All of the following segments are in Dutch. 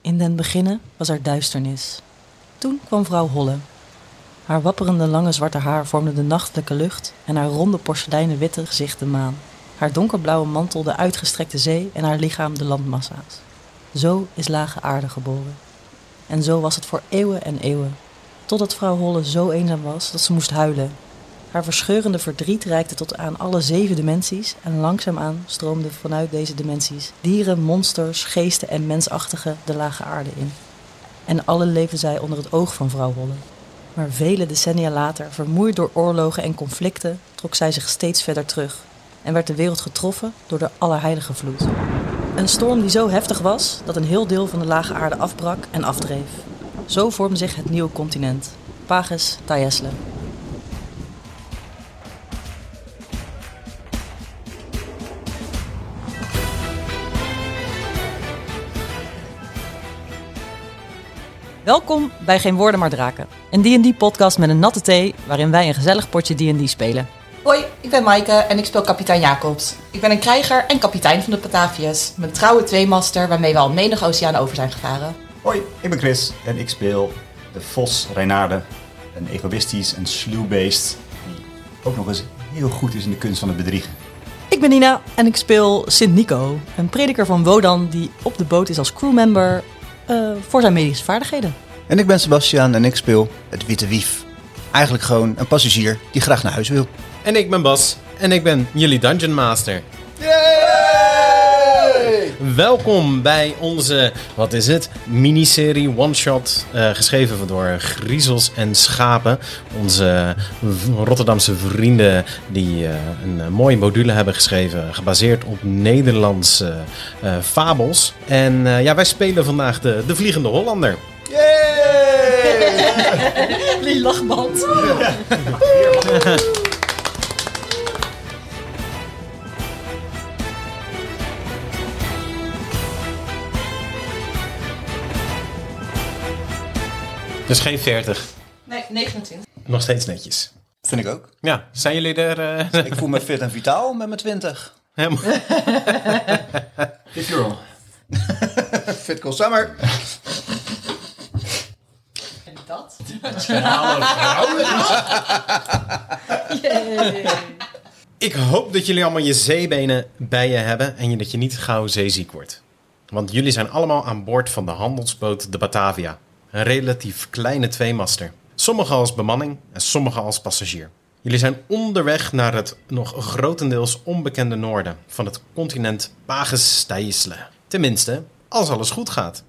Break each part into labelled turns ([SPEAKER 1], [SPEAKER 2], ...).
[SPEAKER 1] In den beginne was er duisternis. Toen kwam vrouw Holle. Haar wapperende lange zwarte haar vormde de nachtelijke lucht en haar ronde porseleinen witte gezicht de maan. Haar donkerblauwe mantel de uitgestrekte zee en haar lichaam de landmassa's. Zo is lage aarde geboren. En zo was het voor eeuwen en eeuwen. Totdat vrouw Holle zo eenzaam was dat ze moest huilen. Haar verscheurende verdriet reikte tot aan alle zeven dimensies en langzaamaan stroomden vanuit deze dimensies dieren, monsters, geesten en mensachtigen de lage aarde in. En alle leefden zij onder het oog van vrouw Holle. Maar vele decennia later, vermoeid door oorlogen en conflicten, trok zij zich steeds verder terug en werd de wereld getroffen door de Allerheilige Vloed. Een storm die zo heftig was dat een heel deel van de lage aarde afbrak en afdreef. Zo vormde zich het nieuwe continent, Pages Thaesle. Welkom bij Geen Woorden Maar Draken, een D&D-podcast met een natte thee waarin wij een gezellig potje D&D spelen.
[SPEAKER 2] Hoi, ik ben Maaike en ik speel kapitein Jacobs. Ik ben een krijger en kapitein van de Patavius. Mijn trouwe tweemaster waarmee we al menig oceaan over zijn gevaren.
[SPEAKER 3] Hoi, ik ben Chris en ik speel de Vos Reinaarde. Een egoïstisch en sluw beest die ook nog eens heel goed is in de kunst van het bedriegen.
[SPEAKER 1] Ik ben Nina en ik speel Sint Nico, een prediker van Wodan die op de boot is als crewmember eh, voor zijn medische vaardigheden.
[SPEAKER 4] En ik ben Sebastian en ik speel het Witte Wief. Eigenlijk gewoon een passagier die graag naar huis wil.
[SPEAKER 5] En ik ben Bas. En ik ben jullie Dungeon Master. Welkom bij onze, wat is het, miniserie one-shot. eh, geschreven door Griezels en Schapen. Onze v- Rotterdamse vrienden die eh, een eh, mooie module hebben geschreven. Gebaseerd op Nederlandse eh, fabels. En eh, ja, wij spelen vandaag de, de Vliegende Hollander.
[SPEAKER 1] Die lachband.
[SPEAKER 5] Dus geen 40.
[SPEAKER 2] Nee, 29.
[SPEAKER 5] Nog steeds netjes.
[SPEAKER 4] Vind ik ook.
[SPEAKER 5] Ja, zijn jullie er eh,
[SPEAKER 4] Ik voel me fit en vitaal met mijn 20.
[SPEAKER 5] helemaal...
[SPEAKER 3] Dit girl.
[SPEAKER 4] Fit cool summer.
[SPEAKER 2] En dat?
[SPEAKER 5] Ik hoop dat jullie allemaal je zeebenen bij je hebben en je- dat je niet gauw zeeziek wordt. Want jullie zijn allemaal aan boord van de handelsboot de Batavia. Een relatief kleine tweemaster. Sommigen als bemanning en sommigen als passagier. Jullie zijn onderweg naar het nog grotendeels onbekende noorden van het continent Pages Thaïsle. Tenminste, als alles goed gaat.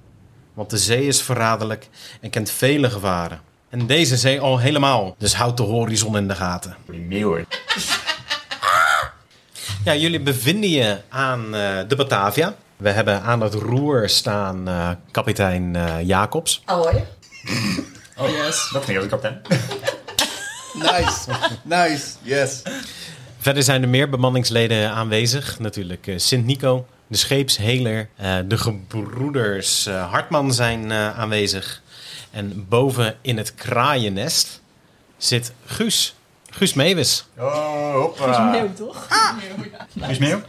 [SPEAKER 5] Want de zee is verraderlijk en kent vele gevaren. En deze zee al helemaal, dus houd de horizon in de gaten.
[SPEAKER 3] Voor die meeuwen.
[SPEAKER 5] Ja, jullie bevinden je aan eh, de Batavia. We hebben aan het roer staan eh, kapitein eh, Jacobs.
[SPEAKER 2] Ahoy.
[SPEAKER 3] Oh yes. Dat ging als kapitein.
[SPEAKER 4] Nice. Nice. Yes.
[SPEAKER 5] Verder zijn er meer bemanningsleden aanwezig. Natuurlijk eh, Sint Nico, de scheepsheler, eh, de gebroeders eh, Hartman zijn eh, aanwezig. En boven in het kraaiennest zit Guus. Guus Meeuwis.
[SPEAKER 3] Oh, hoppa.
[SPEAKER 1] toch?
[SPEAKER 3] Is meeuw?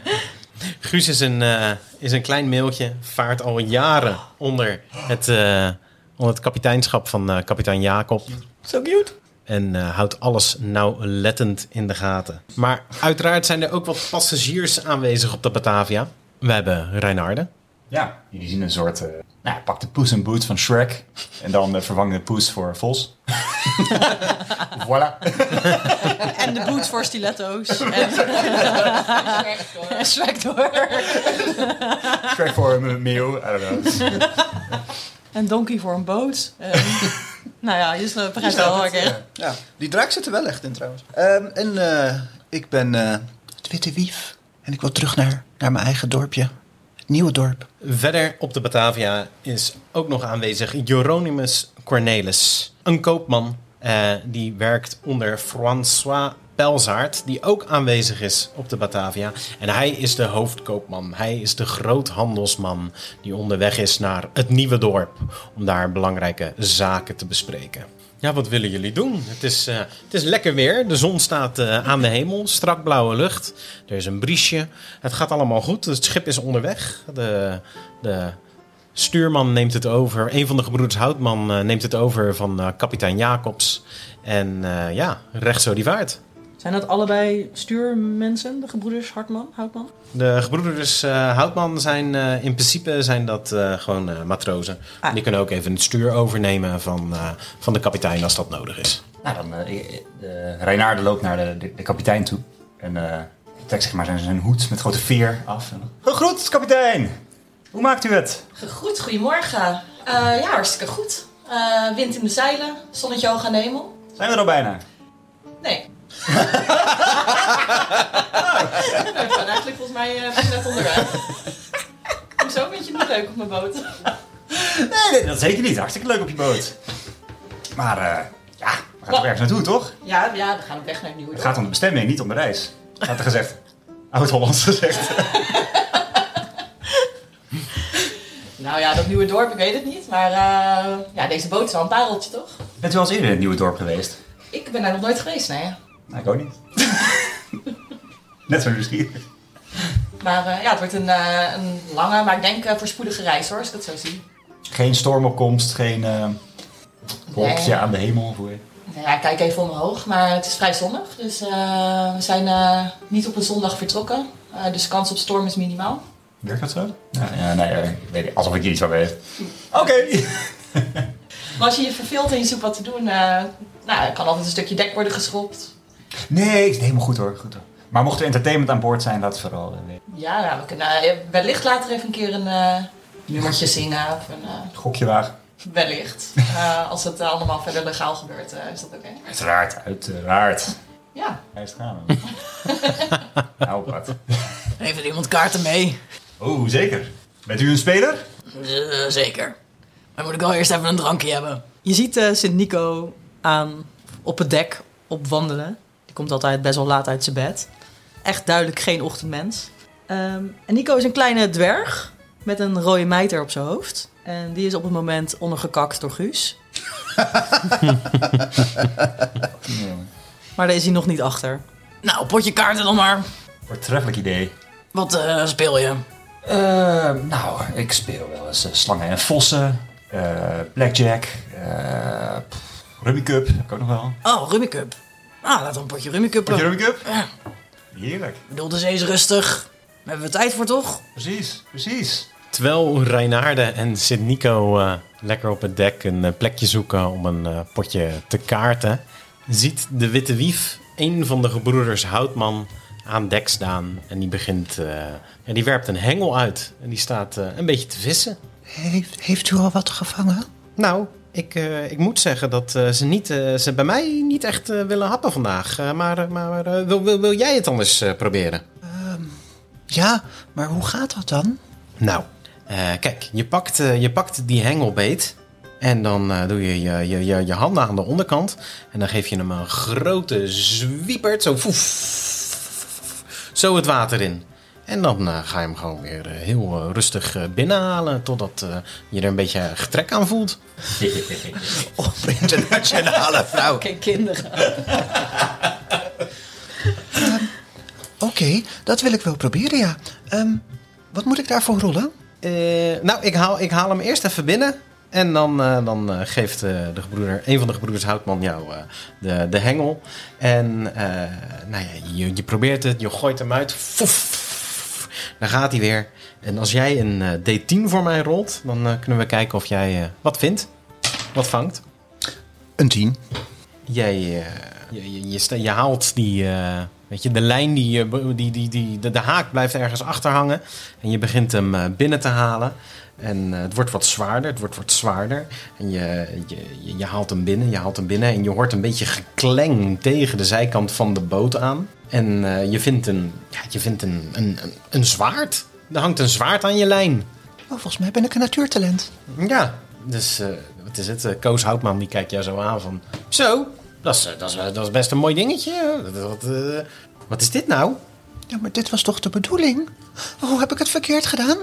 [SPEAKER 5] Guus is een, eh, is een klein mailtje, vaart al jaren onder het, eh, onder het kapiteinschap van eh, kapitein Jacob.
[SPEAKER 1] Zo cute.
[SPEAKER 5] En eh, houdt alles nauwlettend in de gaten. Maar uiteraard zijn er ook wat passagiers aanwezig op de Batavia. We hebben Reinarde.
[SPEAKER 3] Ja. Jullie zien een soort, eh, nou, pak de poes en boots van Shrek. En dan eh, vervang de poes voor Vos. voilà.
[SPEAKER 1] En de boots voor stiletto's. En Ah. Shrek door.
[SPEAKER 3] Shrek voor een meeuw. I don't know.
[SPEAKER 1] En donkey voor een boot. En, nou ja, je snapt- begrijpt wel hoor. oké.
[SPEAKER 4] Ja, die draak zit er wel echt in trouwens. Ehm, en eh, ik ben eh, het Witte Wief. En ik wil terug naar, naar mijn eigen dorpje. Het nieuwe dorp.
[SPEAKER 5] Verder op de Batavia is ook nog aanwezig Jeronimus Cornelis. Een koopman eh, die werkt onder François Pelzaert. Die ook aanwezig is op de Batavia. En hij is de hoofdkoopman. Hij is de groothandelsman die onderweg is naar het nieuwe dorp. Om daar belangrijke zaken te bespreken. Ja, wat willen jullie doen? Het is, eh, het is lekker weer. De zon staat eh, aan de hemel. Strak blauwe lucht. Er is een briesje. Het gaat allemaal goed. Het schip is onderweg. De, de stuurman neemt het over. Een van de gebroeders Houtman eh, neemt het over van eh, kapitein Jacobs. En eh, ja, recht zo die vaart.
[SPEAKER 6] Zijn dat allebei stuurmensen, de gebroeders Hartman, Houtman?
[SPEAKER 5] De gebroeders eh, Houtman zijn eh, in principe zijn dat eh, gewoon eh, matrozen.
[SPEAKER 6] Ah.
[SPEAKER 5] Die kunnen ook even het stuur overnemen van, eh, van de kapitein als dat nodig is.
[SPEAKER 3] Nou, dan, eh, ik- de Reinaarde loopt naar de, de, de kapitein toe. En eh, trekt zeg maar zijn, zijn hoed met grote veer af. En, Gegroet, kapitein! Hoe maakt u het?
[SPEAKER 2] Goed, goedemorgen. Eh, ja, hartstikke goed. Eh, wind in de zeilen, zonnetje hoog aan de hemel.
[SPEAKER 3] Zijn we er al bijna?
[SPEAKER 2] Nee. Nou, we zijn eigenlijk volgens mij eh, pas net onderweg. Zo vind je het niet leuk op mijn boot.
[SPEAKER 3] Nee, nee, dat zeker niet. Hartstikke leuk op je boot. Maar eh, ja, we gaan toch ergens naartoe, toch?
[SPEAKER 2] Ja, ja, we gaan op weg naar New
[SPEAKER 3] Het
[SPEAKER 2] York.
[SPEAKER 3] gaat om de bestemming, niet om de reis. Had er gezegd. Oud-Hollands gezegd.
[SPEAKER 2] Nou ja, dat nieuwe dorp, ik weet het niet. Maar eh, ja, deze boot is wel een pareltje, toch?
[SPEAKER 3] Bent u al eens eerder in het nieuwe dorp geweest?
[SPEAKER 2] Ik ben daar nog nooit geweest, nee.
[SPEAKER 3] Nou, ik ook niet. Net zo nieuwsgierig.
[SPEAKER 2] Maar eh, ja, het wordt een, eh, een lange, maar ik denk eh, voorspoedige reis hoor, als ik het zo zie.
[SPEAKER 3] Geen stormopkomst, geen eh wolkje
[SPEAKER 2] Nee.
[SPEAKER 3] aan de hemel. Voor je.
[SPEAKER 2] Nou ja, ik kijk even omhoog, maar het is vrij zonnig. Dus eh, we zijn eh, niet op een zondag vertrokken. Eh, dus kans op storm is minimaal.
[SPEAKER 3] Werkt dat zo? Ja, ja, nee, eh, ik weet niet, alsof ik hier iets van weet. Oké.
[SPEAKER 2] Maar als je je verveelt en je zoekt wat te doen, eh, nou, er kan altijd een stukje dek worden geschropt.
[SPEAKER 3] Nee, is helemaal goed hoor. Goed hoor. Maar mocht er entertainment aan boord zijn, laat het vooral. eh, weten.
[SPEAKER 2] Ja, nou, we kunnen eh, wellicht later even een keer een eh, nummertje zingen. Of een, eh,
[SPEAKER 3] Het gokje wagen.
[SPEAKER 2] wellicht. Eh, als het eh, allemaal verder legaal gebeurt, eh, is dat oké.
[SPEAKER 3] Uiteraard, uiteraard.
[SPEAKER 2] Ja.
[SPEAKER 3] Hij is gaan. nou, wat.
[SPEAKER 1] Heeft iemand kaarten mee?
[SPEAKER 3] Oh, zeker. Bent u een speler?
[SPEAKER 1] Eh, zeker. Maar moet ik wel eerst even een drankje hebben.
[SPEAKER 6] Je ziet eh, Sint-Nico aan op het dek op wandelen. Die komt altijd best wel laat uit zijn bed. Echt duidelijk geen ochtendmens. Ehm, en Nico is een kleine dwerg met een rode mijter op zijn hoofd. En die is op het moment ondergekakt door Guus. Maar daar is hij nog niet achter.
[SPEAKER 1] Nou, potje kaarten dan maar.
[SPEAKER 3] Voortreffelijk idee.
[SPEAKER 1] Wat eh, speel je?
[SPEAKER 3] Eh, nou, ik speel wel eens eh, slangen en vossen, eh, blackjack, eh pff, Rummy Cup, heb ik ook nog wel.
[SPEAKER 1] Oh, rummikup. Ah, laten we een potje rummikuppen.
[SPEAKER 3] Potje Rummy Cup?
[SPEAKER 1] Ja.
[SPEAKER 3] Heerlijk.
[SPEAKER 1] Ik bedoel, de zee is rustig. Daar hebben we tijd voor, toch?
[SPEAKER 3] Precies, precies.
[SPEAKER 5] Terwijl Reinaarde en Sint-Nico eh, lekker op het dek een eh, plekje zoeken om een eh, potje te kaarten, ziet de Witte Wief een van de gebroeders Houtman aan dek staan. En die begint, eh, ja, die werpt een hengel uit en die staat eh, een beetje te vissen.
[SPEAKER 4] Heeft, heeft u al wat gevangen?
[SPEAKER 5] Nou, ik, eh, ik moet zeggen dat eh, ze, niet, eh, ze bij mij niet echt eh, willen happen vandaag. Eh, maar eh, maar eh, wil, wil, wil jij het anders eh, proberen?
[SPEAKER 4] Ja, maar hoe gaat dat dan?
[SPEAKER 5] Nou, eh, kijk, je pakt, eh, je pakt die hengelbeet. En dan eh, doe je je, je, je je handen aan de onderkant. En dan geef je hem een grote zwiepert. Zo, foef, zo het water in. En dan eh, ga je hem gewoon weer eh, heel eh, rustig eh, binnenhalen. Totdat eh, je er een beetje getrek aan voelt.
[SPEAKER 4] Op internationale vrouw.
[SPEAKER 6] Geen kinderen.
[SPEAKER 4] Oké, dat wil ik wel proberen, ja. Ehm, wat moet ik daarvoor rollen?
[SPEAKER 5] Eh, nou, ik haal, ik haal hem eerst even binnen. En dan, eh, dan eh, geeft eh, de gebroeder, een van de gebroeders Houtman jou eh, de, de hengel. En eh, nou ja, je, je probeert het, je gooit hem uit. Foef. dan gaat hij weer. En als jij een eh, D10 voor mij rolt, dan eh, kunnen we kijken of jij eh, wat vindt. Wat vangt.
[SPEAKER 4] Een tien.
[SPEAKER 5] Jij, eh, je, je, je, sta- je haalt die, eh, weet je, de lijn, die, je be- die, die, die, de, de haak blijft ergens achterhangen. En je begint hem eh, binnen te halen. En eh, het wordt wat zwaarder, het wordt wat zwaarder. En je, je, je, je haalt hem binnen, je haalt hem binnen. En je hoort een beetje gekleng tegen de zijkant van de boot aan. En eh, je vindt, een, ja, je vindt een, een, een, een zwaard. Er hangt een zwaard aan je lijn.
[SPEAKER 4] Oh, volgens mij ben ik een natuurtalent.
[SPEAKER 5] Ja, dus eh, wat is het? Eh, Koos Houtman die kijkt jou zo aan van... Zo, dat is, eh, dat is, eh, dat is best een mooi dingetje. Wat, wat, eh, wat is dit nou?
[SPEAKER 4] Ja, maar dit was toch de bedoeling? Oh, heb ik het verkeerd gedaan?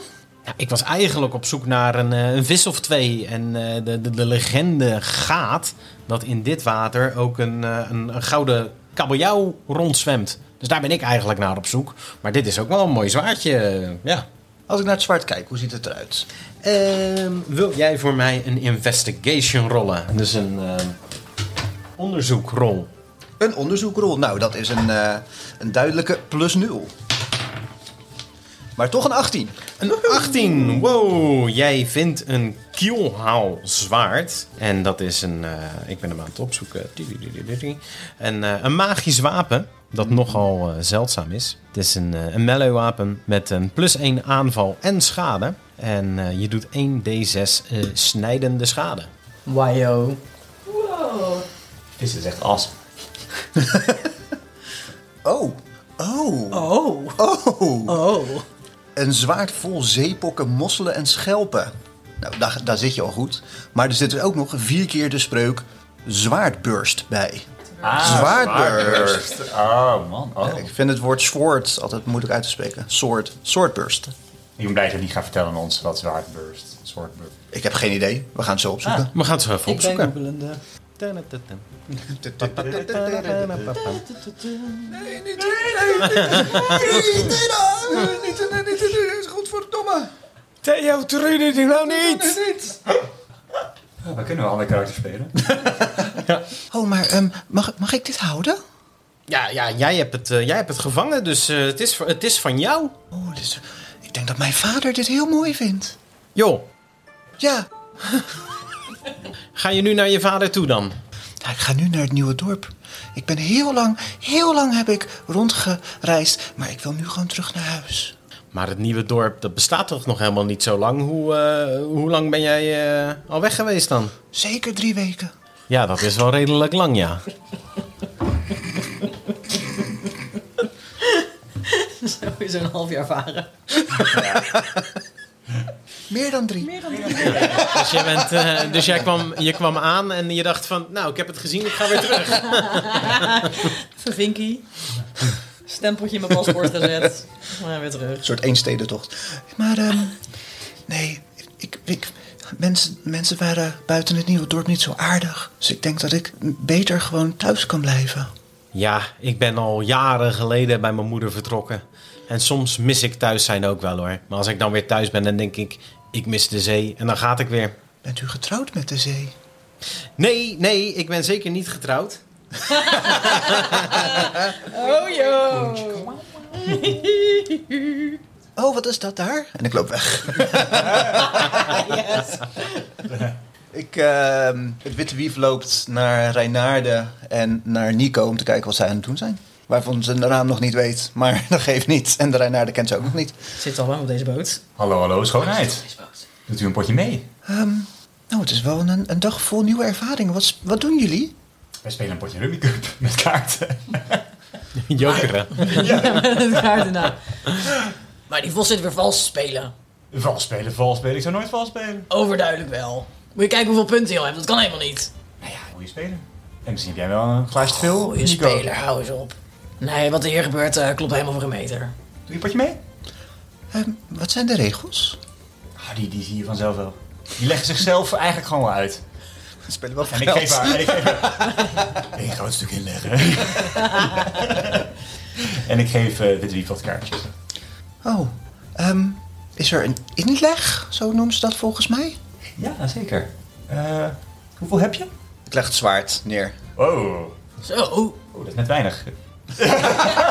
[SPEAKER 5] Ja, ik was eigenlijk op zoek naar een, eh, een vis of twee. En eh, de, de, de legende gaat dat in dit water ook een, eh, een, een gouden kabeljauw rondzwemt. Dus daar ben ik eigenlijk naar op zoek. Maar dit is ook wel een mooi zwaardje. eh, Ja.
[SPEAKER 4] Als ik naar het zwart kijk, hoe ziet het eruit? Eh.
[SPEAKER 5] Ehm, wil jij voor mij een investigation rollen? Dus een ehm, onderzoekrol.
[SPEAKER 4] Een onderzoekrol. Nou, dat is een, eh, een duidelijke plus 0. Maar toch een 18.
[SPEAKER 5] Een 18. Wow, jij vindt een kielhaal zwaard. En dat is een. eh, ik ben hem aan het opzoeken. Een, eh, een magisch wapen. Dat nogal eh, zeldzaam is. Het is een, eh, een melee wapen met een plus 1 aanval en schade. En eh, je doet 1d6 eh, snijdende schade.
[SPEAKER 1] Wajo.
[SPEAKER 3] Dit is echt as.
[SPEAKER 4] Oh. Oh.
[SPEAKER 1] Oh.
[SPEAKER 4] Oh.
[SPEAKER 1] Oh.
[SPEAKER 4] Een zwaard vol zeepokken, mosselen en schelpen. Nou, daar, daar zit je al goed. Maar er zit er ook nog vier keer de spreuk zwaardburst bij.
[SPEAKER 3] Ah,
[SPEAKER 4] Zwaardburst.
[SPEAKER 3] Oh, man. Oh.
[SPEAKER 4] Ik vind het woord zwaard altijd moeilijk uit te spreken. Soort, soortburst.
[SPEAKER 3] Ik ben blij dat je niet gaat vertellen aan ons wat zwaardburst, soortburst.
[SPEAKER 4] Ik heb geen idee. We gaan het zo opzoeken.
[SPEAKER 5] We gaan het zo even
[SPEAKER 1] Ik ben
[SPEAKER 5] opzoeken.
[SPEAKER 1] googelende.
[SPEAKER 4] Godverdomme.
[SPEAKER 5] Theo, Trudy, doe nou niet!
[SPEAKER 3] We kunnen wel alle karakters spelen.
[SPEAKER 4] Oh, maar ehm, mag, mag ik dit houden?
[SPEAKER 5] Ja, ja jij, hebt het, eh, jij hebt het gevangen, dus eh, het, is, het is van jou.
[SPEAKER 4] Oh, dit is- ik denk dat mijn vader dit heel mooi vindt.
[SPEAKER 5] Joh,
[SPEAKER 4] Ja,
[SPEAKER 5] ga je nu naar je vader toe dan?
[SPEAKER 4] Nou, ik ga nu naar het nieuwe dorp. Ik ben heel lang, heel lang heb ik rondgereisd, maar ik wil nu gewoon terug naar huis.
[SPEAKER 5] Maar het nieuwe dorp, dat bestaat toch nog helemaal niet zo lang? Hoe, eh, hoe lang ben jij eh, al weg geweest dan?
[SPEAKER 4] Zeker drie weken.
[SPEAKER 5] Ja, dat is wel redelijk lang, ja.
[SPEAKER 1] Sowieso een half jaar varen.
[SPEAKER 4] Meer dan drie.
[SPEAKER 5] Dus, jij bent, eh, dus jij kwam, je kwam aan en je dacht van... Nou, ik heb het gezien, ik ga weer terug.
[SPEAKER 1] Vinky. Stempeltje in mijn paspoort gezet. Maar weer terug.
[SPEAKER 4] Een soort eenstedentocht. Maar, ehm, nee, ik, ik, mensen, mensen waren buiten het nieuwe dorp niet zo aardig. Dus ik denk dat ik beter gewoon thuis kan blijven.
[SPEAKER 5] Ja, ik ben al jaren geleden bij mijn moeder vertrokken. En soms mis ik thuis zijn ook wel hoor. Maar als ik dan weer thuis ben, dan denk ik... Ik mis de zee en dan gaat ik weer.
[SPEAKER 4] Bent u getrouwd met de zee?
[SPEAKER 5] Nee, nee, ik ben zeker niet getrouwd.
[SPEAKER 1] Oh joh.
[SPEAKER 4] Oh, wat is dat daar? En ik loop weg. Ik, ehm, het Witte Wief loopt naar Reinaarde en naar Nico om te kijken wat zij aan het doen zijn. Waarvan ze de naam nog niet weet, maar dat geeft niet. En de Reinaarde kent ze ook nog niet.
[SPEAKER 1] Zit al lang op deze boot.
[SPEAKER 3] Hallo, hallo, schoonheid. Doet u een potje mee?
[SPEAKER 4] Ehm, nou, het is wel een, een dag vol nieuwe ervaringen. Wat, s- wat doen jullie?
[SPEAKER 3] Wij spelen een potje Rummy Cup met kaarten.
[SPEAKER 5] Jokeren.
[SPEAKER 1] Maar die vos zit weer vals te spelen.
[SPEAKER 3] Vals spelen, vals spelen. Ik zou nooit vals spelen.
[SPEAKER 1] Overduidelijk wel. Moet je kijken hoeveel punten je al hebt. Dat kan helemaal niet.
[SPEAKER 3] Nou ja, goede speler. En misschien heb jij wel een glaasje te veel,
[SPEAKER 1] Goeie
[SPEAKER 3] Nico.
[SPEAKER 1] speler, hou eens op. Nee, wat er hier gebeurt eh, klopt helemaal voor een meter.
[SPEAKER 3] Doe je een potje mee?
[SPEAKER 4] Ehm, wat zijn de regels?
[SPEAKER 3] Ah, die, die zie je vanzelf wel. Die leggen zichzelf eigenlijk gewoon wel uit.
[SPEAKER 4] We spelen wel
[SPEAKER 3] En ik geef haar... En ik geef haar één groot stuk inleggen. en ik geef eh de drie wat kaartjes.
[SPEAKER 4] Oh, ehm, is er een inleg? Zo noemen ze dat volgens mij.
[SPEAKER 3] Ja, zeker. Eh, hoeveel heb je?
[SPEAKER 4] Ik leg het zwaard neer.
[SPEAKER 3] Oh,
[SPEAKER 1] Zo.
[SPEAKER 3] Oh, dat is net weinig.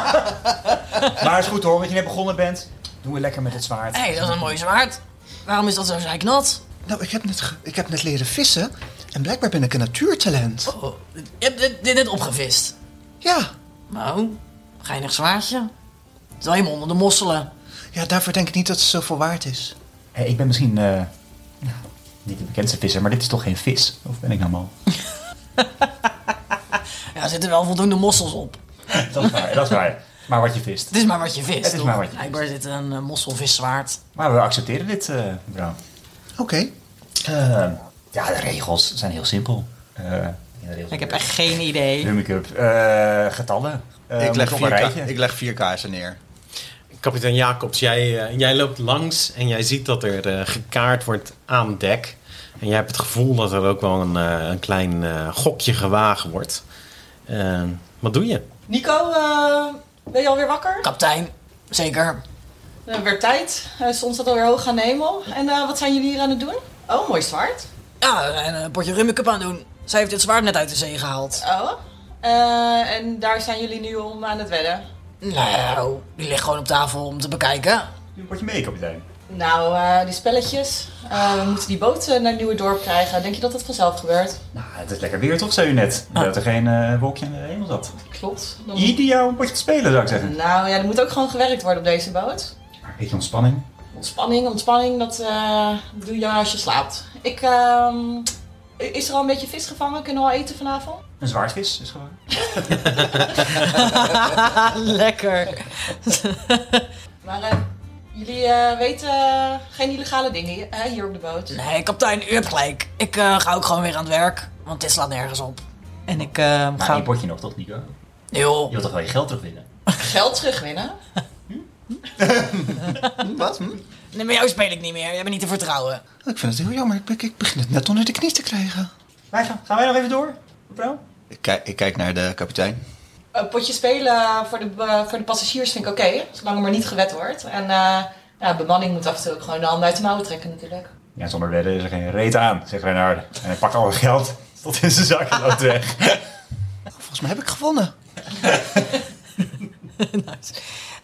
[SPEAKER 3] maar het is goed hoor, dat je net begonnen bent. Doen we lekker met het zwaard.
[SPEAKER 1] Hé, dat is een mooi zwaard. Waarom is dat zo zijknat?
[SPEAKER 4] Nou, ik heb, net, ge- ik heb net leren vissen. En blijkbaar ben ik een natuurtalent.
[SPEAKER 1] Oh, je hebt dit, dit net opgevist.
[SPEAKER 4] Ja,
[SPEAKER 1] Nou, geinig zwaardje. Het is wel helemaal onder de mosselen.
[SPEAKER 4] ja, daarvoor denk ik niet dat het zoveel waard is.
[SPEAKER 3] Hey, ik ben misschien eh, nou, niet de bekendste visser, maar dit is toch geen vis? Of ben ik nou mal?
[SPEAKER 1] Ja, er zitten wel voldoende mossels op.
[SPEAKER 3] dat is waar, dat is waar. Maar wat je vist.
[SPEAKER 1] Het is maar wat je vist.
[SPEAKER 3] Het is
[SPEAKER 1] toch?
[SPEAKER 3] maar wat je vist.
[SPEAKER 1] Blijkbaar zit een eh, mosselviszwaard.
[SPEAKER 3] Maar we accepteren dit, eh mevrouw.
[SPEAKER 4] Oké.
[SPEAKER 3] Eh, ja, de regels zijn heel simpel. Eh, ja, de regels
[SPEAKER 1] Ik heb echt geen idee.
[SPEAKER 3] Rummikub. Eh, getallen. Eh,
[SPEAKER 4] ik, leg
[SPEAKER 3] moet op een
[SPEAKER 4] vier
[SPEAKER 3] rijtje.
[SPEAKER 4] ka- ik leg vier kaarsen neer.
[SPEAKER 5] Kapitein Jacobs, jij, eh, jij loopt langs en jij ziet dat er eh, gekaard wordt aan dek. En jij hebt het gevoel dat er ook wel een, eh, een klein eh, gokje gewagen wordt. Eh, wat doe je?
[SPEAKER 7] Nico, eh, ben je alweer wakker?
[SPEAKER 1] Kaptein, zeker.
[SPEAKER 2] Het werd tijd. Eh, Zon staat alweer hoog aan de hemel. En eh, wat zijn jullie hier aan het doen? Oh, mooi zwaard.
[SPEAKER 1] Ja, en een potje rummikup aan doen. Zij heeft dit zwaard net uit de zee gehaald.
[SPEAKER 2] Oh. Eh, en daar zijn jullie nu om aan het wedden.
[SPEAKER 1] Nou, die ligt gewoon op tafel om te bekijken.
[SPEAKER 3] Nu word je mee, kapitein.
[SPEAKER 2] Nou, eh, die spelletjes. Eh, we moeten die boot eh, naar het nieuwe dorp krijgen. Denk je dat dat vanzelf gebeurt?
[SPEAKER 3] Nou, het is lekker weer toch, zei u net. Dat er geen eh, wolkje aan de hemel zat.
[SPEAKER 2] Klopt. Dan moet-
[SPEAKER 3] Ideaal om een potje te spelen, zou ik zeggen.
[SPEAKER 2] Nou ja, er moet ook gewoon gewerkt worden op deze boot.
[SPEAKER 3] Maar een beetje ontspanning.
[SPEAKER 2] Ontspanning, ontspanning, dat eh, doe je als je slaapt. Ik, ehm, is er al een beetje vis gevangen? Kunnen we al eten vanavond?
[SPEAKER 3] Een zwaardvis is gewoon.
[SPEAKER 6] Lekker.
[SPEAKER 2] Maar eh, jullie eh, weten eh, geen illegale dingen hier, hè, hier op de boot.
[SPEAKER 1] Nee, kapitein, u hebt gelijk. Ik eh, ga ook gewoon weer aan het werk, want dit slaat nergens op.
[SPEAKER 6] En ik eh,
[SPEAKER 3] Maar één
[SPEAKER 6] ga...
[SPEAKER 3] potje nog, toch, Nico? Je
[SPEAKER 1] Joh,
[SPEAKER 3] wilt toch wel je geld terugwinnen?
[SPEAKER 2] Geld terugwinnen?
[SPEAKER 4] Wat? Hm?
[SPEAKER 1] nee, met jou speel ik niet meer. Jij bent niet te vertrouwen.
[SPEAKER 4] Ik vind het heel jammer. Ik, ik- ik begin het net onder de knie te krijgen.
[SPEAKER 3] Wij gaan, gaan wij nog even door, mevrouw?
[SPEAKER 4] Ik kijk, ik kijk naar de kapitein.
[SPEAKER 2] Een potje spelen voor de, eh, voor de passagiers vind ik oké, zolang er maar niet gewet wordt. En eh, ja, bemanning moet af en toe ook gewoon de handen uit de mouwen trekken natuurlijk.
[SPEAKER 3] Ja, zonder wedden is er geen reet aan, zegt Renaarde. En hij pakt al het geld tot in zijn zak en loopt weg.
[SPEAKER 4] Volgens mij heb ik gewonnen.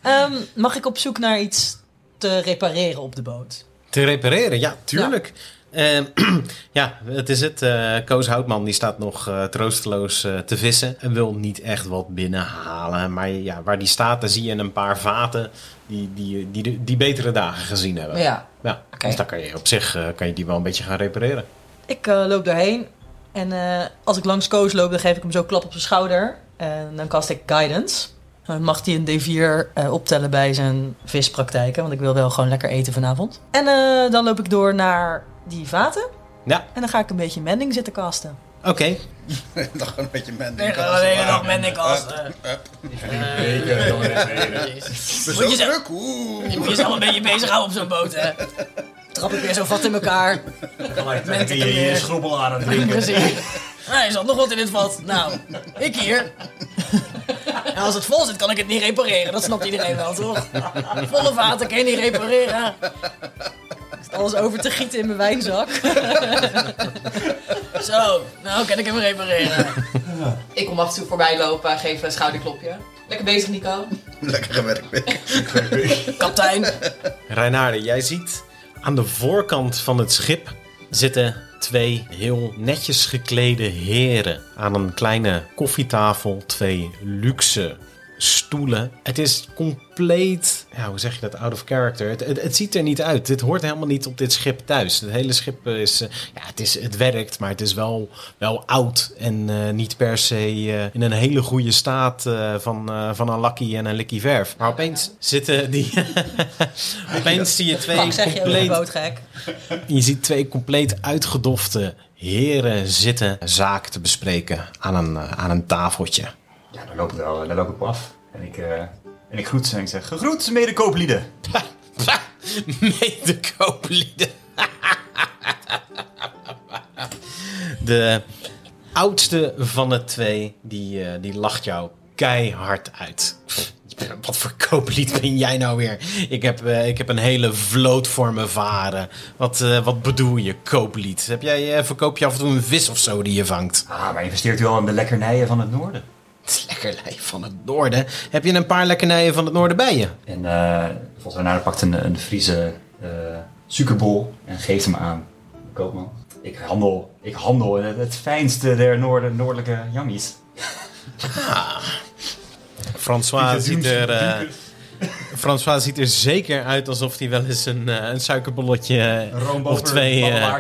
[SPEAKER 6] Ehm, mag ik op zoek naar iets te repareren op de boot?
[SPEAKER 5] Te repareren, ja, tuurlijk. Ehm, Ja, het is het. eh, Koos Houtman die staat nog eh, troosteloos eh, te vissen en wil niet echt wat binnenhalen. Maar ja, waar die staat, daar zie je een paar vaten die, die, die, die, die betere dagen gezien hebben.
[SPEAKER 6] Ja.
[SPEAKER 5] Ja,
[SPEAKER 6] Oké.
[SPEAKER 5] dus daar kan je op zich eh, kan je die wel een beetje gaan repareren.
[SPEAKER 6] Ik eh, loop daarheen. En eh, als ik langs Koos loop, dan geef ik hem zo een klap op zijn schouder. En dan kast ik Guidance. Dan mag hij een D4 eh, optellen bij zijn vispraktijken. Want ik wil wel gewoon lekker eten vanavond. En eh, dan loop ik door naar die vaten.
[SPEAKER 5] Ja.
[SPEAKER 6] En dan ga ik een beetje mending zitten kasten.
[SPEAKER 5] Oké,
[SPEAKER 4] Nog een beetje man.
[SPEAKER 1] Ik ga de hele dag met Nick als. eh, Moet je zelf- je moet jezelf een beetje bezighouden op zo'n boot, hè? Trap ik weer zo vast in elkaar.
[SPEAKER 3] Dan kun je je schrobbel aan het drinken.
[SPEAKER 1] Precies. Nou, er zat nog wat in dit vat. Nou, ik hier. En als het vol zit, kan ik het niet repareren. Dat snapt iedereen wel, toch? Volle vaten kan je niet repareren.
[SPEAKER 6] Alles over te gieten in mijn wijnzak.
[SPEAKER 1] Zo, nou kan ik hem repareren.
[SPEAKER 2] Ik kom af en toe voorbij lopen, geef een schouderklopje. Lekker bezig Nico.
[SPEAKER 4] Lekker gewerkt, Mick.
[SPEAKER 1] Kaptein.
[SPEAKER 5] Reinaarde, jij ziet aan de voorkant van het schip zitten twee heel netjes geklede heren. Aan een kleine koffietafel, twee luxe stoelen. Het is compleet, ja, hoe zeg je dat, out of character. Het, het, het ziet er niet uit. Dit hoort helemaal niet op dit schip thuis. Het hele schip is, eh, ja, het, is het werkt, maar het is wel, wel oud en eh, niet per se eh, in een hele goede staat eh, van, eh, van een lakkie en een likkie verf. Maar opeens zitten die... opeens zie je twee
[SPEAKER 6] Pak zeg je over de
[SPEAKER 5] compleet
[SPEAKER 6] boot gek.
[SPEAKER 5] je ziet twee compleet uitgedofte heren zitten zaak te bespreken aan een, eh, aan een tafeltje.
[SPEAKER 3] Ja, daar loop ik, wel, daar loop ik op af. En ik, eh, en ik groet ze en ik zeg, gegroet mede kooplieden.
[SPEAKER 5] Medekooplieden. De oudste van de twee, die, eh, die lacht jou keihard uit. Wat voor kooplied ben jij nou weer? Ik heb, eh, ik heb een hele vloot voor mijn varen. Wat, eh, wat bedoel je, kooplied? Heb jij, eh, verkoop je af en toe een vis of zo die je vangt?
[SPEAKER 3] Ah, maar investeert u al in de lekkernijen van het noorden?
[SPEAKER 5] Het lekkerlij van het noorden. Heb je een paar lekkernijen van het noorden bij je?
[SPEAKER 3] En eh, volgens mij pakt een, een Friese eh suikerbol en geeft hem aan de koopman. Ik handel, ik handel in het, het fijnste der noorden, noordelijke jammies.
[SPEAKER 5] François ziet er, eh, François ziet er zeker uit alsof hij wel eens een, eh, een suikerbolletje eh, of twee, eh,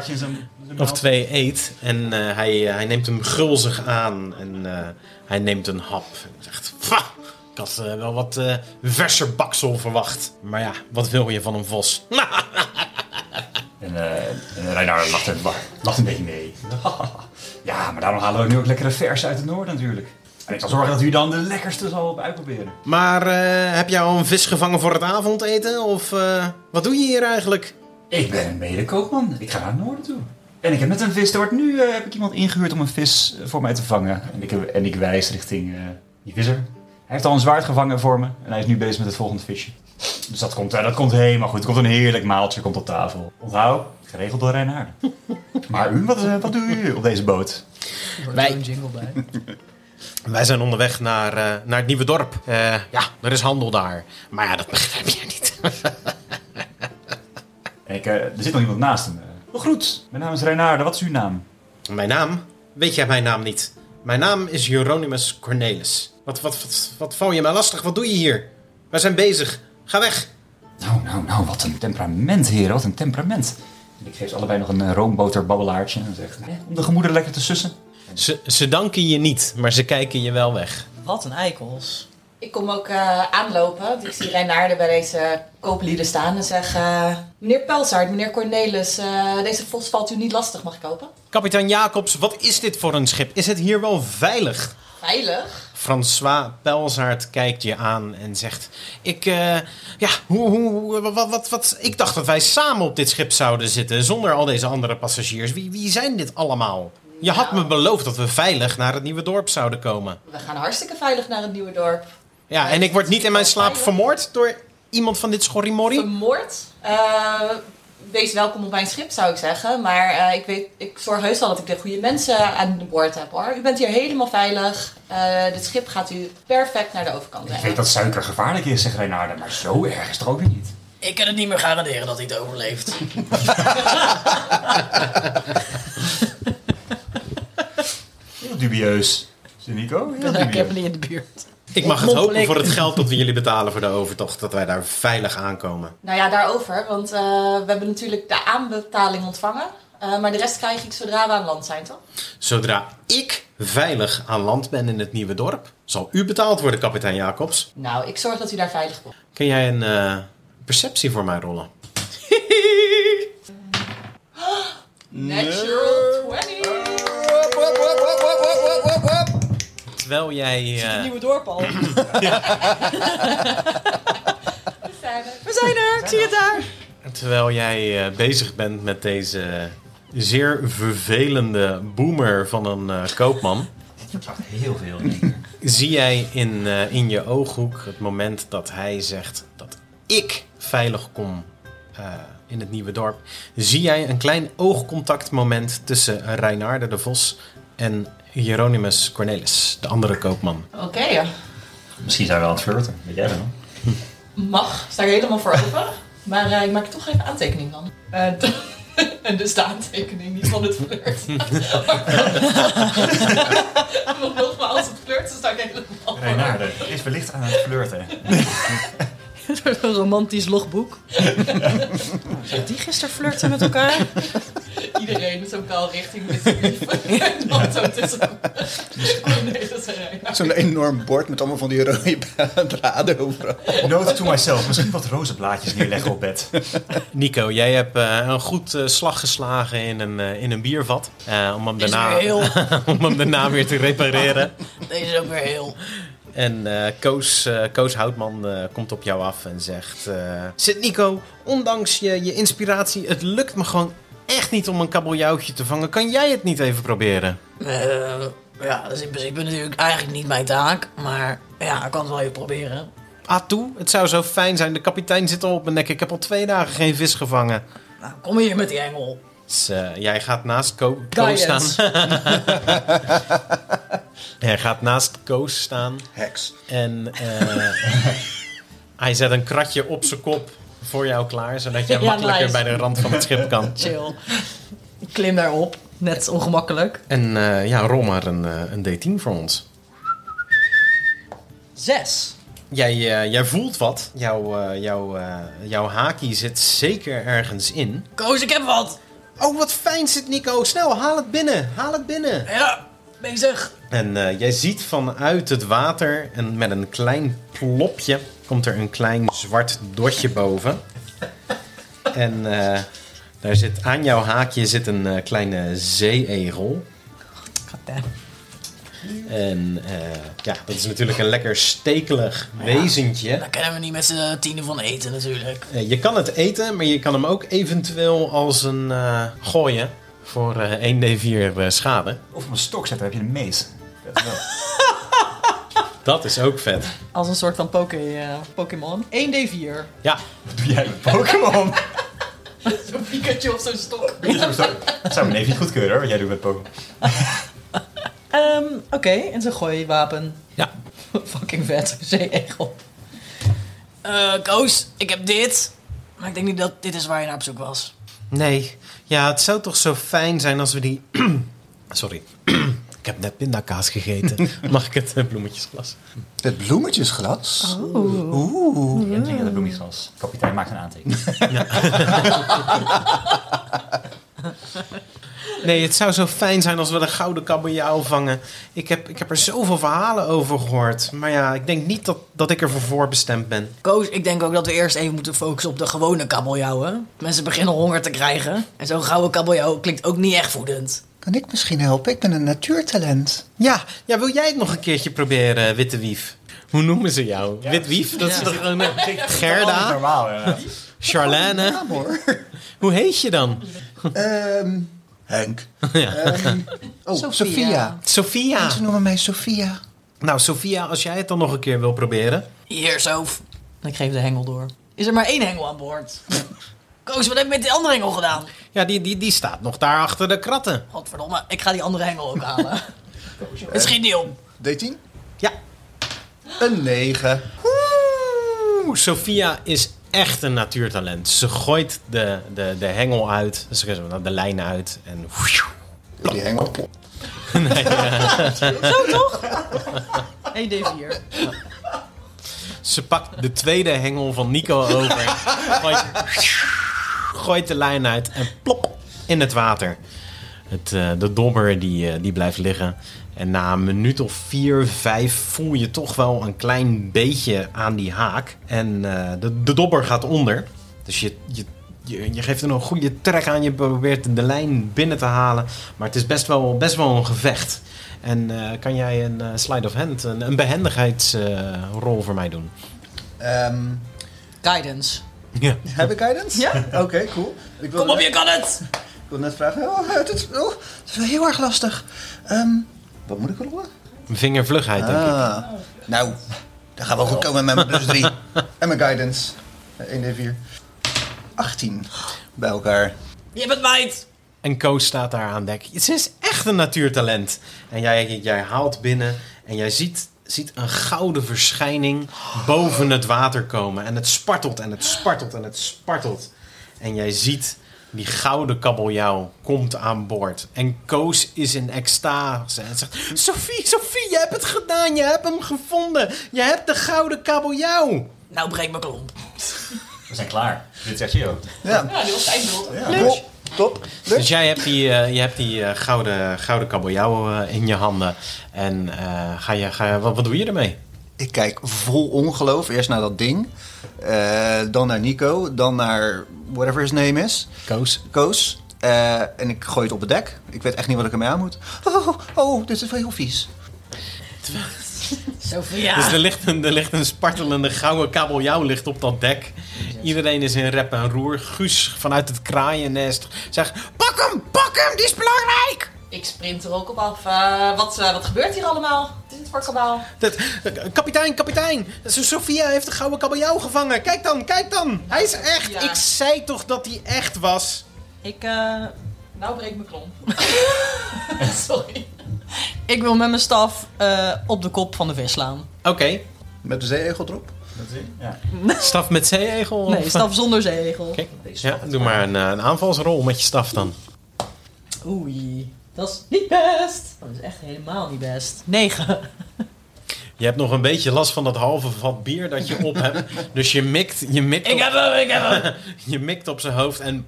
[SPEAKER 5] of twee eet. En eh, hij, eh, hij neemt hem gulzig aan en eh, hij neemt een hap. En zegt, "Pfa, ik had eh, wel wat eh verser baksel verwacht. Maar ja, wat wil je van een vos?
[SPEAKER 3] En, eh en Reinoud lacht, een- lacht een beetje mee. ja, maar daarom halen we nu ook lekkere vers uit het noorden natuurlijk. En ik zal zorgen dat u dan de lekkerste zal uitproberen.
[SPEAKER 5] Maar eh, heb jij al een vis gevangen voor het avondeten? Of eh, wat doe je hier eigenlijk?
[SPEAKER 3] Ik ben een medekoopman. Ik ga naar het noorden toe. En ik heb net een vis. Er wordt nu eh, heb ik iemand ingehuurd om een vis eh, voor mij te vangen. En ik, heb- en ik wijs richting eh, die visser. Hij heeft al een zwaard gevangen voor me. En hij is nu bezig met het volgende visje. Dus dat komt, eh, dat komt helemaal goed. Er komt een heerlijk maaltje komt op tafel. Onthoud, geregeld door Reinaard. Maar u, wat, eh, wat doen jullie op deze boot?
[SPEAKER 1] Wij... Een jingle bij.
[SPEAKER 5] Wij zijn onderweg naar, eh, naar het nieuwe dorp. Eh, ja, er is handel daar. Maar ja, dat begrijp jij niet.
[SPEAKER 3] Ik, eh, er zit nog iemand naast hem. eh. Nog goed, mijn naam is Reinaard. Wat is uw naam?
[SPEAKER 5] Mijn naam? Weet jij mijn naam niet? Mijn naam is Hieronymus Cornelis. Wat, wat, wat, wat val je mij lastig? Wat doe je hier? Wij zijn bezig. Ga weg.
[SPEAKER 3] Nou, nou, nou, wat een temperament, heren, wat een temperament. En ik geef ze allebei nog een eh, roomboterbabbelaartje en zeg, eh, om de gemoeder lekker te sussen.
[SPEAKER 5] Ze, ze danken je niet, maar ze kijken je wel weg.
[SPEAKER 6] Wat een eikels.
[SPEAKER 2] Ik kom ook eh, aanlopen. Dus ik zie Reinaarden bij deze kooplieden staan en zeg... eh, meneer Pelsaert, meneer Cornelis, eh, deze vos valt u niet lastig, mag ik kopen?
[SPEAKER 5] Kapitein Jacobs, wat is dit voor een schip? Is het hier wel veilig?
[SPEAKER 2] Veilig?
[SPEAKER 5] François Pelzaert kijkt je aan en zegt... Ik, eh, ja, hoe, hoe, wat, wat, wat, ik dacht dat wij samen op dit schip zouden zitten... zonder al deze andere passagiers. Wie, wie zijn dit allemaal? Je had me beloofd dat we veilig naar het nieuwe dorp zouden komen.
[SPEAKER 2] We gaan hartstikke veilig naar het nieuwe dorp.
[SPEAKER 5] Ja, en ik word niet in mijn slaap vermoord door iemand van dit schorrimorrie.
[SPEAKER 2] Vermoord? Eh, wees welkom op mijn schip, zou ik zeggen. Maar eh, ik, weet, ik zorg heus wel dat ik de goede mensen aan boord heb, hoor. U bent hier helemaal veilig. Eh dit schip gaat u perfect naar de overkant
[SPEAKER 3] Ik
[SPEAKER 2] brengen.
[SPEAKER 3] weet dat suiker gevaarlijk is, zegt Reinaarde, maar zo erg is het er ook weer niet.
[SPEAKER 1] Ik kan het niet meer garanderen dat hij het overleeft.
[SPEAKER 3] Heel dubieus. Zie je, Nico? Heel
[SPEAKER 1] Ik heb
[SPEAKER 3] dubieus.
[SPEAKER 1] niet in de buurt.
[SPEAKER 5] Ik mag het hopen
[SPEAKER 1] Mompel
[SPEAKER 5] voor
[SPEAKER 1] ik.
[SPEAKER 5] het geld dat we jullie betalen voor de overtocht... dat wij daar veilig aankomen.
[SPEAKER 2] Nou ja, daarover. Want eh, we hebben natuurlijk de aanbetaling ontvangen. Eh, maar de rest krijg ik zodra we aan land zijn, toch?
[SPEAKER 5] Zodra ik veilig aan land ben in het nieuwe dorp... zal u betaald worden, kapitein Jacobs.
[SPEAKER 2] Nou, ik zorg dat u daar veilig komt.
[SPEAKER 5] Kun jij een eh, perceptie voor mij rollen?
[SPEAKER 2] Natural 20!
[SPEAKER 4] Wop, wop, wop, wop, wop, wop, wop, wop.
[SPEAKER 5] Terwijl jij... eh,
[SPEAKER 6] Nieuwe dorp al.
[SPEAKER 2] We zijn er! Ik zie het daar!
[SPEAKER 5] Terwijl jij eh, bezig bent met deze zeer vervelende boomer van een eh, koopman,
[SPEAKER 3] Ik zag heel veel in één keer.
[SPEAKER 5] zie jij in, eh, in je ooghoek het moment dat hij zegt dat ik veilig kom eh, in het nieuwe dorp. Zie jij een klein oogcontactmoment tussen Reinaarde de Vos en Hieronymus Cornelis, de andere koopman.
[SPEAKER 2] Oké, eh,
[SPEAKER 3] Misschien zijn we aan het flirten, weet jij dat nog?
[SPEAKER 2] mag. Sta er helemaal voor open. Maar eh, ik maak er toch even aantekening van. Eh, en dus de aantekening, niet van het flirt. Want nogmaals, het flirt dan sta ik helemaal voor open.
[SPEAKER 3] Reinaarde is wellicht aan het flirten.
[SPEAKER 6] Een soort van romantisch logboek. Zat die gisteren flirten met elkaar?
[SPEAKER 2] Iedereen is ook wel richting Mississippi. En dan zo tussen. Oh nee, dat is een Reina.
[SPEAKER 4] Zo'n enorm bord met allemaal van die rode draden overal.
[SPEAKER 3] Note to myself, misschien wat rozenblaadjes neerleggen op bed.
[SPEAKER 5] Nico, jij hebt eh, een goed eh, slag geslagen in een, eh, in een biervat. eh, om, hem
[SPEAKER 1] Is
[SPEAKER 5] daarna,
[SPEAKER 1] weer heel.
[SPEAKER 5] om hem daarna weer te repareren.
[SPEAKER 1] Deze is ook weer heel.
[SPEAKER 5] En eh, Koos, eh, Koos Houtman eh, komt op jou af en zegt... eh, Zit Nico, ondanks je, je inspiratie, het lukt me gewoon echt niet om een kabeljauwtje te vangen. Kan jij het niet even proberen?
[SPEAKER 1] Eh, ja, dat is in principe natuurlijk eigenlijk niet mijn taak. Maar ja, ik kan het wel even proberen.
[SPEAKER 5] Ah toe, het zou zo fijn zijn. De kapitein zit al op mijn nek. Ik heb al twee dagen geen vis gevangen.
[SPEAKER 1] Nou, kom hier met die engel.
[SPEAKER 5] Dus, eh, jij gaat naast Ko- Koos staan.
[SPEAKER 1] Guidance.
[SPEAKER 5] Hij gaat naast Koos staan.
[SPEAKER 4] Heks.
[SPEAKER 5] En eh, hij zet een kratje op zijn kop voor jou klaar. Zodat jij
[SPEAKER 1] Ja,
[SPEAKER 5] makkelijker
[SPEAKER 1] nice.
[SPEAKER 5] bij de rand van het schip kan.
[SPEAKER 1] Chill. Ik Klim daarop. Net ongemakkelijk.
[SPEAKER 5] En eh, ja, rol maar een, eh, een D10 voor ons.
[SPEAKER 1] Zes.
[SPEAKER 5] Jij, eh, jij voelt wat. Jouw, eh jouw, eh, jouw haki zit zeker ergens in.
[SPEAKER 1] Koos, ik heb wat.
[SPEAKER 5] Oh, wat fijn zit Nico. Snel, haal het binnen. Haal het binnen.
[SPEAKER 1] Ja, bezig.
[SPEAKER 5] En eh, jij ziet vanuit het water, en met een klein plopje, komt er een klein zwart dotje boven. En eh, daar zit, aan jouw haakje zit een eh, kleine zeeegel. En eh, ja, dat is natuurlijk een lekker stekelig wezentje.
[SPEAKER 1] Daar kennen we niet met z'n tienen van eten natuurlijk.
[SPEAKER 5] Eh, je kan het eten, maar je kan hem ook eventueel als een eh, gooien voor eh, 1d4 eh, schade.
[SPEAKER 3] Of op een stok zetten, heb je een mees. Dat wel.
[SPEAKER 5] Dat is ook vet.
[SPEAKER 2] Als een soort van poké, eh, Pokémon. 1d4.
[SPEAKER 5] Ja,
[SPEAKER 3] Wat doe jij met Pokémon?
[SPEAKER 2] Zo'n Pikachu op zo'n stok.
[SPEAKER 3] Dat zou mijn neef niet goedkeuren hoor, wat jij doet met Pokémon.
[SPEAKER 2] Ehm, Oké, en zijn gooiwapen.
[SPEAKER 5] ja.
[SPEAKER 2] Fucking vet, zee-egel.
[SPEAKER 1] Eh, Koos, ik heb dit. Maar ik denk niet dat dit is waar je naar op zoek was.
[SPEAKER 5] Nee. Ja, het zou toch zo fijn zijn als we die... Sorry. ik heb net pindakaas gegeten. Mag ik het eh, bloemetjesglas?
[SPEAKER 4] Het bloemetjesglas.
[SPEAKER 3] Ja, drink dat bloemigras. Kapitein maakt een aantekening.
[SPEAKER 5] Nee, het zou zo fijn zijn als we de gouden kabeljauw vangen. Ik heb, ik heb er zoveel verhalen over gehoord. Maar ja, ik denk niet dat, dat ik ervoor voorbestemd ben.
[SPEAKER 1] Koos, ik denk ook dat we eerst even moeten focussen op de gewone kabeljauwen. Mensen beginnen honger te krijgen. En zo'n gouden kabeljauw klinkt ook niet echt voedend.
[SPEAKER 4] Kan ik misschien helpen? Ik ben een natuurtalent.
[SPEAKER 5] Ja, ja, wil jij het nog een keertje proberen, eh, Witte Wief? Hoe noemen ze jou? Wit Wief? Dat is toch gewoon eh, Gerda?
[SPEAKER 3] Normaal, ja.
[SPEAKER 5] Charlène?
[SPEAKER 4] Ja, hoor.
[SPEAKER 5] Hoe heet je dan?
[SPEAKER 4] Ehm, Henk.
[SPEAKER 5] Eh,
[SPEAKER 4] Ehm, oh, Sophia.
[SPEAKER 5] Sophia.
[SPEAKER 4] Ze noemen mij Sophia.
[SPEAKER 5] Nou, Sophia, als jij het dan nog een keer wil proberen.
[SPEAKER 1] Hier, Soof.
[SPEAKER 2] En ik geef de hengel door.
[SPEAKER 1] Is er maar één hengel aan boord? Koos, wat heb je met die andere hengel gedaan?
[SPEAKER 5] Ja, die, die, die staat nog daar achter de kratten.
[SPEAKER 1] Godverdomme, ik ga die andere hengel ook halen. Het schiet niet om.
[SPEAKER 4] D10?
[SPEAKER 5] Ja.
[SPEAKER 4] Een 9.
[SPEAKER 5] Oeh, Sophia is echt een natuurtalent. Ze gooit de, de, de hengel uit, ze de lijn uit en...
[SPEAKER 4] Die hengel. plop.
[SPEAKER 2] 1d4.
[SPEAKER 5] Ze pakt de tweede hengel van Nico over. gooit, gooit de lijn uit en plop in het water. Het, eh, de dobber die, eh, die blijft liggen. En na een minuut of vier, vijf voel je toch wel een klein beetje aan die haak. En eh, de, de dobber gaat onder. Dus je, je, je, je geeft er een goede trek aan. Je probeert de lijn binnen te halen. Maar het is best wel, best wel een gevecht. En eh, kan jij een eh, slide of hand, een, een behendigheidsrol eh, voor mij doen?
[SPEAKER 4] Ehm,
[SPEAKER 2] Guidance.
[SPEAKER 5] Ja.
[SPEAKER 4] heb ik guidance? Ja. Oké, cool. Ik wil
[SPEAKER 1] Kom op, je kan het!
[SPEAKER 4] Ik wil net vragen. Oh, het is, oh, het is wel heel erg lastig. Ehm, wat moet ik rollen?
[SPEAKER 5] Vingervlugheid, denk ik.
[SPEAKER 4] Ah, nou, daar gaan we goed komen met mijn plus 3. en mijn guidance. Eh, 1d4. 18 bij elkaar.
[SPEAKER 1] Je bent meid!
[SPEAKER 5] En Koos staat daar aan dek. Ze is echt een natuurtalent. En jij, jij haalt binnen en jij ziet, ziet een gouden verschijning boven het water komen. En het spartelt en het spartelt en het spartelt. En jij ziet die gouden kabeljauw komt aan boord. En Koos is in extase en zegt... Sophie, Sophie, je hebt het gedaan. Je hebt hem gevonden. Je hebt de gouden kabeljauw.
[SPEAKER 1] Nou, breek mijn klomp.
[SPEAKER 3] We zijn klaar. Dit zegt je ook.
[SPEAKER 4] Ja,
[SPEAKER 2] Ja, die was eindelijk.
[SPEAKER 4] cool. Top.
[SPEAKER 5] Dus jij hebt die, eh, je hebt die eh, gouden, gouden kabeljauw eh, in je handen. En eh, ga je, ga je, wat, wat doe je ermee?
[SPEAKER 4] Ik kijk vol ongeloof. Eerst naar dat ding. eh, dan naar Nico. Dan naar whatever his name is.
[SPEAKER 5] Koos.
[SPEAKER 4] Koos. Eh, en ik gooi het op het dek. Ik weet echt niet wat ik ermee aan moet. Oh, oh, oh, dit is wel heel vies.
[SPEAKER 1] Sophia.
[SPEAKER 5] Dus er ligt, een, er ligt een spartelende gouden kabeljauw ligt op dat dek. Iedereen is in rep en roer. Guus vanuit het kraaiennest zegt... Pak hem, pak hem, die is belangrijk!
[SPEAKER 2] Ik sprint er ook op af. Eh, wat, eh, wat gebeurt hier allemaal? Wat is het voor kabaal?
[SPEAKER 5] Dat, eh, kapitein, kapitein! Sofia heeft de gouden kabeljauw gevangen. Kijk dan, kijk dan! Hij is echt!
[SPEAKER 2] Ja.
[SPEAKER 5] Ik zei toch dat hij echt was?
[SPEAKER 2] Ik, eh, nou breek mijn klomp. Sorry. Ik wil met mijn staf eh, op de kop van de vis slaan.
[SPEAKER 5] Oké.
[SPEAKER 4] Met de zeeegel erop.
[SPEAKER 3] Dat zie je? Ja.
[SPEAKER 5] Staf met zeeegel?
[SPEAKER 2] Nee,
[SPEAKER 5] of-
[SPEAKER 2] staf zonder zeeegel.
[SPEAKER 5] Oké, ja, doe maar een, eh, een aanvalsrol met je staf dan.
[SPEAKER 2] Oei, dat is niet best. Dat is echt helemaal niet best. 9.
[SPEAKER 5] Je hebt nog een beetje last van dat halve vat bier dat je op hebt. Dus je mikt, je mikt,
[SPEAKER 1] Ik
[SPEAKER 5] op,
[SPEAKER 1] heb hem, ik heb hem!
[SPEAKER 5] je mikt op zijn hoofd en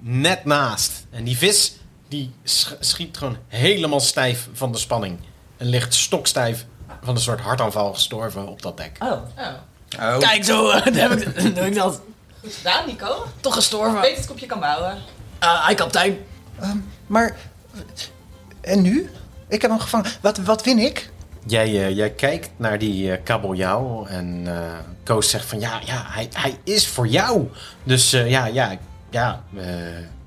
[SPEAKER 5] net naast. En die vis die sch- schiet gewoon helemaal stijf van de spanning. En ligt stokstijf van een soort hartaanval gestorven op dat dek.
[SPEAKER 2] Oh,
[SPEAKER 4] Oh.
[SPEAKER 1] Kijk, zo eh, daar heb ik, doe ik dat.
[SPEAKER 2] goed gedaan, Nico. Ik
[SPEAKER 1] Toch gestorven.
[SPEAKER 2] weet dat ik op je kan bouwen.
[SPEAKER 1] Ah, Hij kapitein.
[SPEAKER 4] Ehm, maar. En nu? Ik heb hem gevangen. Wat, wat win ik?
[SPEAKER 5] Jij, eh, jij kijkt naar die eh, kabeljauw en eh, Koos zegt van ja, ja hij, hij is voor jou. Dus eh, ja, ja, ja, eh,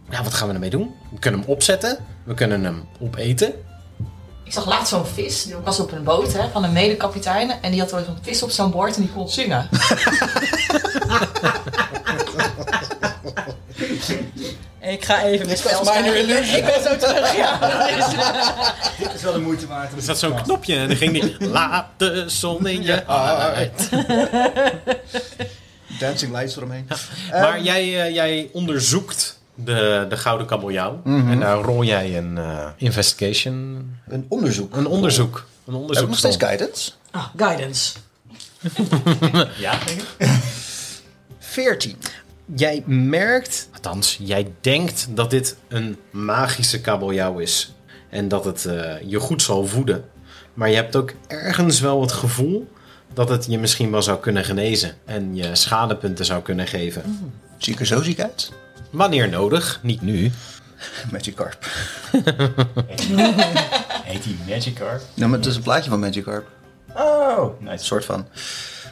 [SPEAKER 5] ja, wat gaan we ermee doen? We kunnen hem opzetten, we kunnen hem opeten.
[SPEAKER 2] Ik Ik zag laatst zo'n vis, die was op een boot hè, van een medekapitein. En die had wel zo'n vis op zijn boord en die kon zingen.
[SPEAKER 6] Ik ga even met spel
[SPEAKER 2] Ik ben zo terug, ja.
[SPEAKER 3] Dit is wel de moeite waard.
[SPEAKER 5] Er zat zo'n knopje en dan ging die... Laat de zon in je hart.
[SPEAKER 4] Dancing lights eromheen.
[SPEAKER 5] Maar jij, eh, jij onderzoekt de, de gouden kabeljauw. En daar rol jij een eh, investigation...
[SPEAKER 4] Een onderzoek.
[SPEAKER 5] Een onderzoek. Een
[SPEAKER 4] Heb ik
[SPEAKER 5] onderzoek.
[SPEAKER 4] nog steeds guidance?
[SPEAKER 6] Ah, guidance.
[SPEAKER 5] Ja, denk ik.
[SPEAKER 4] 14.
[SPEAKER 5] Jij merkt, althans, jij denkt dat dit een magische kabeljauw is. En dat het eh, je goed zal voeden. Maar je hebt ook ergens wel het gevoel dat het je misschien wel zou kunnen genezen. En je schadepunten zou kunnen geven.
[SPEAKER 4] Zie ik er zo ziek uit?
[SPEAKER 5] Wanneer nodig, niet nu.
[SPEAKER 4] Magikarp.
[SPEAKER 3] Heet die Magikarp?
[SPEAKER 4] Nou, maar het is een plaatje van Magikarp.
[SPEAKER 3] Oh,
[SPEAKER 4] Een
[SPEAKER 3] nice.
[SPEAKER 4] soort van.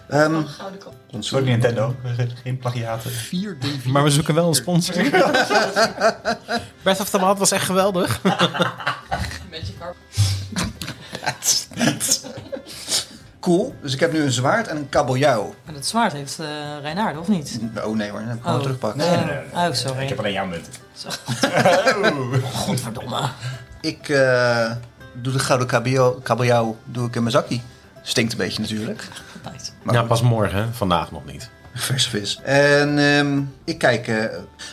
[SPEAKER 4] Ehm
[SPEAKER 2] Gouden kop.
[SPEAKER 3] Sorry Nintendo, geen plagiaten.
[SPEAKER 4] vier d
[SPEAKER 5] Maar we zoeken wel een sponsor. Breath of the Wild was echt geweldig.
[SPEAKER 2] Magic Carp.
[SPEAKER 4] Cool. Dus ik heb nu een zwaard en een kabeljauw.
[SPEAKER 6] Maar dat zwaard heeft eh Reinaard, of niet?
[SPEAKER 4] Oh nee hoor, dan heb ik gewoon
[SPEAKER 6] Oh.
[SPEAKER 4] terugpakken.
[SPEAKER 3] Nee, nee, nee, nee.
[SPEAKER 6] Oh, sorry.
[SPEAKER 3] Ik heb alleen jouw munt.
[SPEAKER 6] Godverdomme.
[SPEAKER 4] Ik eh, doe de gouden kabeljauw, kabeljauw doe ik in mijn zakkie. Stinkt een beetje natuurlijk.
[SPEAKER 6] Altijd.
[SPEAKER 4] Maar
[SPEAKER 5] Nou, pas morgen, hè. vandaag nog niet.
[SPEAKER 4] Verse vis. En ehm, ik kijk. eh,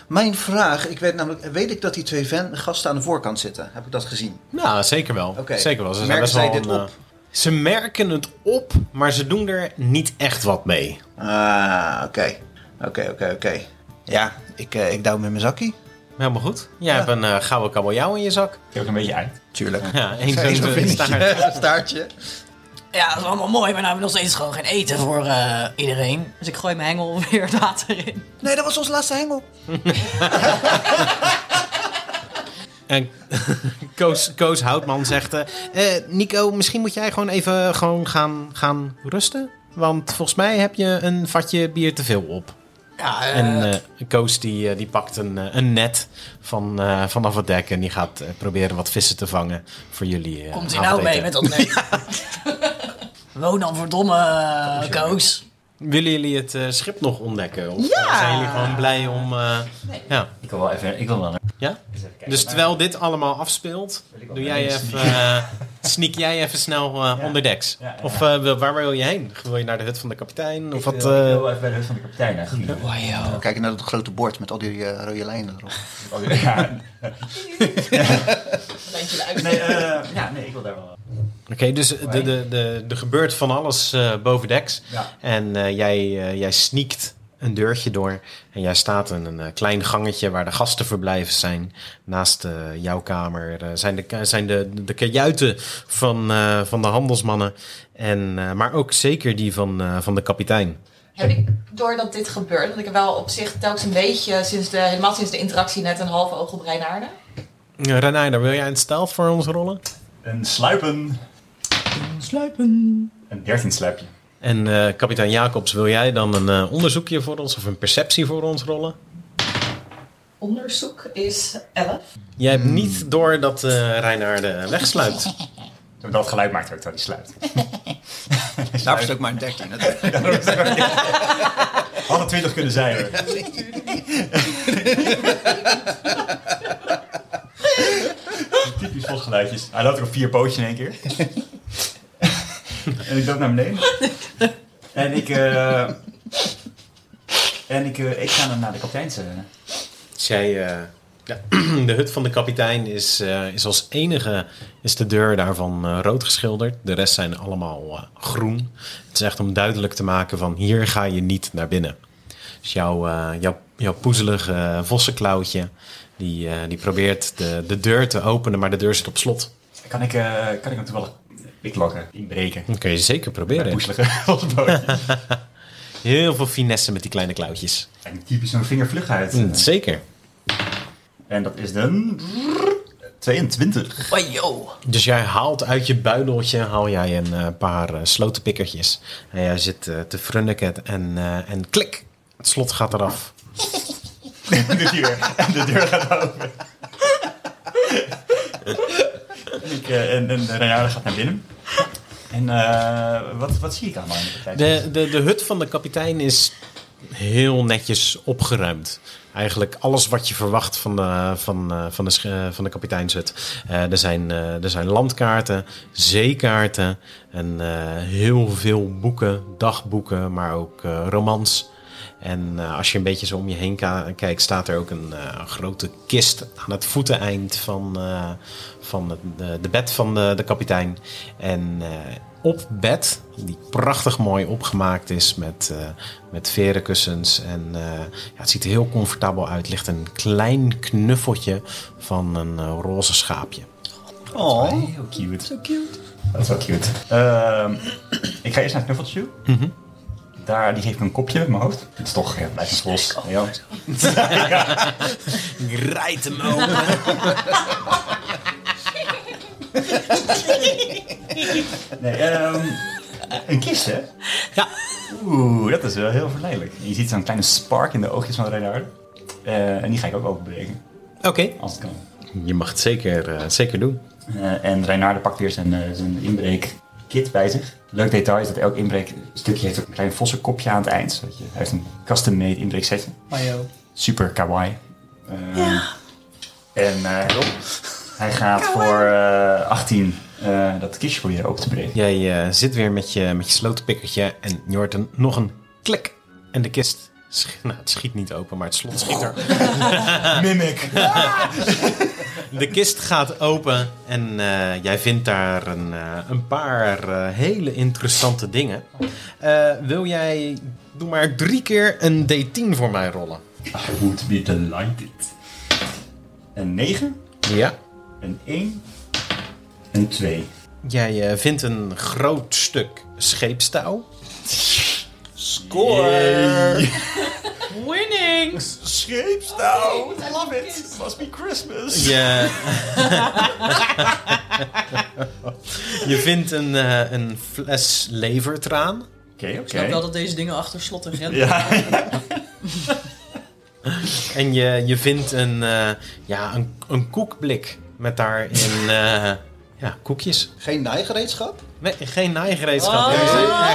[SPEAKER 4] mijn vraag, ik weet namelijk, weet ik dat die twee van, gasten aan de voorkant zitten? Heb ik dat gezien?
[SPEAKER 5] Nou, zeker wel.
[SPEAKER 4] Oké.
[SPEAKER 5] Zeker wel. Ze zijn
[SPEAKER 4] Merken
[SPEAKER 5] best wel
[SPEAKER 4] zij dit
[SPEAKER 5] een,
[SPEAKER 4] op?
[SPEAKER 5] eh, Ze merken het op, maar ze doen er niet echt wat mee.
[SPEAKER 4] Ah, oké. Oké, oké, oké. Ja, ik, eh, ik duw hem in mijn zakkie.
[SPEAKER 5] Helemaal goed. Jij hebt een eh, gouden kabeljauw in je zak.
[SPEAKER 3] Ik heb ook een beetje eind.
[SPEAKER 4] Tuurlijk.
[SPEAKER 5] Ja, één
[SPEAKER 4] Eens
[SPEAKER 5] zo'n,
[SPEAKER 4] een
[SPEAKER 5] eh, staart.
[SPEAKER 4] vinnetje, staartje.
[SPEAKER 1] Ja, dat is allemaal mooi, maar nou hebben we nog steeds gewoon geen eten voor eh, iedereen.
[SPEAKER 6] Dus ik gooi mijn hengel weer het water in.
[SPEAKER 4] Nee, dat was onze laatste hengel.
[SPEAKER 5] En Koos, Koos Houtman zegt... eh, eh, Nico, misschien moet jij gewoon even gewoon gaan, gaan rusten. Want volgens mij heb je een vatje bier te veel op.
[SPEAKER 1] Ja, eh,
[SPEAKER 5] En eh, Koos die, eh, die pakt een, eh, een net van, eh, vanaf het dek... en die gaat eh, proberen wat vissen te vangen voor jullie eh,
[SPEAKER 1] komt hij nou mee
[SPEAKER 5] avondeten.
[SPEAKER 1] met dat nee? Woon dan verdomme, eh, Koos.
[SPEAKER 5] Willen jullie het eh, schip nog ontdekken? Of eh, zijn jullie gewoon blij om... eh, ja.
[SPEAKER 3] Ik wil wel even, ik wil wel naar.
[SPEAKER 5] ja?
[SPEAKER 3] Eens even kijken.
[SPEAKER 5] Dus terwijl dit allemaal afspeelt,
[SPEAKER 3] Wil ik wel
[SPEAKER 5] doe
[SPEAKER 3] naar
[SPEAKER 5] jij
[SPEAKER 3] links
[SPEAKER 5] even,
[SPEAKER 3] sneaken.
[SPEAKER 5] eh, sneak jij even snel eh
[SPEAKER 3] Ja.
[SPEAKER 5] onderdeks.
[SPEAKER 3] Ja, ja,
[SPEAKER 5] Of
[SPEAKER 3] ja.
[SPEAKER 5] eh, wil- waar wil je heen? Wil je naar de hut van de kapitein? Of
[SPEAKER 3] Ik
[SPEAKER 5] wat?
[SPEAKER 3] wil, ik
[SPEAKER 5] eh,
[SPEAKER 3] wil wel even bij de hut van de kapitein naar Guido.
[SPEAKER 4] We kijken naar dat grote bord met al die eh, rode lijnen erop.
[SPEAKER 3] Oh, Ja,
[SPEAKER 2] Lijntje eruit.
[SPEAKER 3] nee, eh, ja, nee, ik wil daar wel.
[SPEAKER 5] Oké, dus de, de, de, er gebeurt van alles eh boven deks.
[SPEAKER 3] Ja.
[SPEAKER 5] En eh, jij, eh, jij sneakt een deurtje door. En jij staat in een eh, klein gangetje waar de gastenverblijven zijn. Naast eh, jouw kamer eh, zijn, de, ka- zijn de, de kajuiten van, eh, van de handelsmannen. En, eh, maar ook zeker die van, eh, van de kapitein.
[SPEAKER 2] Heb ik, doordat dit gebeurt, want ik heb wel op zich telkens een beetje, sinds de, helemaal sinds de interactie, net een halve oog op Reinaarden.
[SPEAKER 5] Ja, Renaida, wil jij een stealth voor ons rollen?
[SPEAKER 3] Een sluipen. Een dertien sluipje.
[SPEAKER 5] En eh, kapitein Jacobs, wil jij dan een eh, onderzoekje voor ons of een perceptie voor ons rollen?
[SPEAKER 2] Onderzoek is 11.
[SPEAKER 5] Jij hebt niet door dat eh Reinaarde wegsluipt.
[SPEAKER 3] Toen dat geluid maakt ook dat hij sluit.
[SPEAKER 4] Daar is het ook maar een 13. natuurlijk.
[SPEAKER 3] Alle twintig kunnen zijn. hoor. Typisch vloggeluidjes. Hij loopt ook op vier pootjes in één keer. en ik loop naar beneden. En ik... eh, en ik, eh, ik ga dan naar de kapiteins. eh.
[SPEAKER 5] Dus jij, eh, ja, de hut van de kapitein is, eh, is als enige is de deur daarvan eh, rood geschilderd. De rest zijn allemaal eh, groen. Het is echt om duidelijk te maken van hier ga je niet naar binnen. Dus jouw, eh, jouw, jouw poezelige eh, vossenklauwtje, die, eh, die probeert de, de deur te openen, maar de deur zit op slot.
[SPEAKER 3] Kan ik, eh kan ik hem toevallig piklokken, inbreken?
[SPEAKER 5] Dat kun je zeker proberen.
[SPEAKER 3] Poeseligen als bootje.
[SPEAKER 5] Heel veel finesse met die kleine klauwtjes.
[SPEAKER 3] En typisch zo'n vingervlug uit.
[SPEAKER 5] Mm. Zeker.
[SPEAKER 3] En dat is een... 22.
[SPEAKER 1] Oei, joh.
[SPEAKER 5] Dus jij haalt uit je buideltje haal jij een eh, paar eh, slotenpikkertjes. En jij zit eh, te frunniken en, eh, en klik, het slot gaat eraf.
[SPEAKER 3] En de deur gaat open. En ik ik, eh, en, en de Reinaarde gaat naar binnen. En eh, wat, wat zie ik allemaal in de partij?
[SPEAKER 5] De, de, de hut van de kapitein is heel netjes opgeruimd. Eigenlijk alles wat je verwacht van de, van, eh, van de, sch- eh, van de kapiteinshut. Eh, er, zijn, eh, er zijn landkaarten, zeekaarten en eh, heel veel boeken, dagboeken, maar ook eh, romans. En eh, als je een beetje zo om je heen ka- kijkt, staat er ook een eh, grote kist aan het voeteneind van, eh, van het, de, de bed van de, de kapitein. En eh, op bed, die prachtig mooi opgemaakt is met, eh met veren kussens. En eh, ja, het ziet er heel comfortabel uit. Ligt een klein knuffeltje van een eh, roze schaapje.
[SPEAKER 3] Oh, heel cute. Zo cute. Dat is wel cute. Ehm, ik ga eerst naar Knuffeltje toe. Daar, die geeft me een kopje met mijn hoofd. Het is toch, ja, blijft een los. Ja.
[SPEAKER 5] Rijt hem open.
[SPEAKER 3] Nee, ehm, een kist, hè?
[SPEAKER 5] Ja.
[SPEAKER 3] Oeh, dat is wel heel verleidelijk. En je ziet zo'n kleine spark in de oogjes van Renard. Eh en die ga ik ook openbreken,
[SPEAKER 5] Oké.
[SPEAKER 3] als het kan.
[SPEAKER 5] Je mag het zeker, eh, zeker doen.
[SPEAKER 3] Eh, en Reinaarde pakt weer zijn, eh, zijn inbreekkit bij zich. Leuk detail is dat elk inbreekstukje heeft ook een klein vossenkopje aan het eind. Zodat je, hij heeft een custom-made inbreeksetje.
[SPEAKER 2] Mayo.
[SPEAKER 3] Super kawaii. Eh, En eh, hij gaat voor eh, 18 eh, dat kistje proberen open te breken.
[SPEAKER 5] Jij eh, zit weer met je, met je slotenpikkertje en je hoort een, nog een klik. En de kist, sch- nou, het schiet niet open, maar het slot schiet er.
[SPEAKER 3] Mimic!
[SPEAKER 5] De kist gaat open en eh, jij vindt daar een, eh, een paar eh, hele interessante dingen. Eh, wil jij, doe maar drie keer een D10 voor mij rollen.
[SPEAKER 3] I would be delighted. Een 9,
[SPEAKER 5] Ja.
[SPEAKER 3] een 1, een 2.
[SPEAKER 5] Jij eh, vindt een groot stuk scheepstouw.
[SPEAKER 4] Score!
[SPEAKER 1] Winning!
[SPEAKER 3] Scheepstouw! Oh, I love it! Must be Christmas!
[SPEAKER 5] Je, je vindt een, eh, een fles levertraan.
[SPEAKER 3] Oké,
[SPEAKER 1] Ik snap wel
[SPEAKER 3] oké.
[SPEAKER 1] dat deze dingen achter slot en grendel.
[SPEAKER 3] Ja,
[SPEAKER 5] En je, je vindt een, eh, ja, een, een koekblik met daarin eh, ja, koekjes.
[SPEAKER 4] Geen naaigereedschap?
[SPEAKER 5] Nee, geen naaigereedschap.
[SPEAKER 1] Oh.
[SPEAKER 5] Jij bent
[SPEAKER 4] Ja.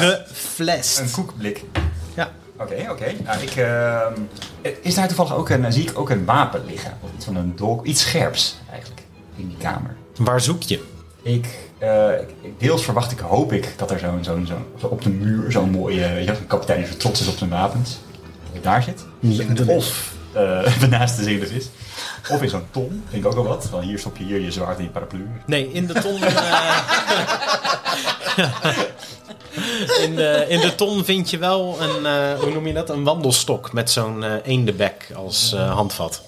[SPEAKER 3] een
[SPEAKER 5] Geflesd.
[SPEAKER 3] koekblik.
[SPEAKER 5] Ja.
[SPEAKER 3] Oké, oké. Nou, ik, ehm, is daar toevallig ook een, zie ik ook een wapen liggen? Of iets van een dolk, iets scherps eigenlijk, in die kamer.
[SPEAKER 5] Waar zoek je?
[SPEAKER 3] Ik, eh, ik- ik- deels verwacht ik, hoop ik, dat er zo'n, zo'n, zo'n, zo op de muur zo'n mooie, weet je wel, zo'n kapitein die zo trots is op zijn wapens, dat hij daar zit. Of eh naast de zeelers is. Of in zo'n ton, vind ik ook al wat. Van hier stop je hier je zwaard en je paraplu.
[SPEAKER 5] Nee, in de ton. eh, in, de, in de ton vind je wel een, eh, hoe noem je dat? Een wandelstok met zo'n eh eendebek als eh, handvat.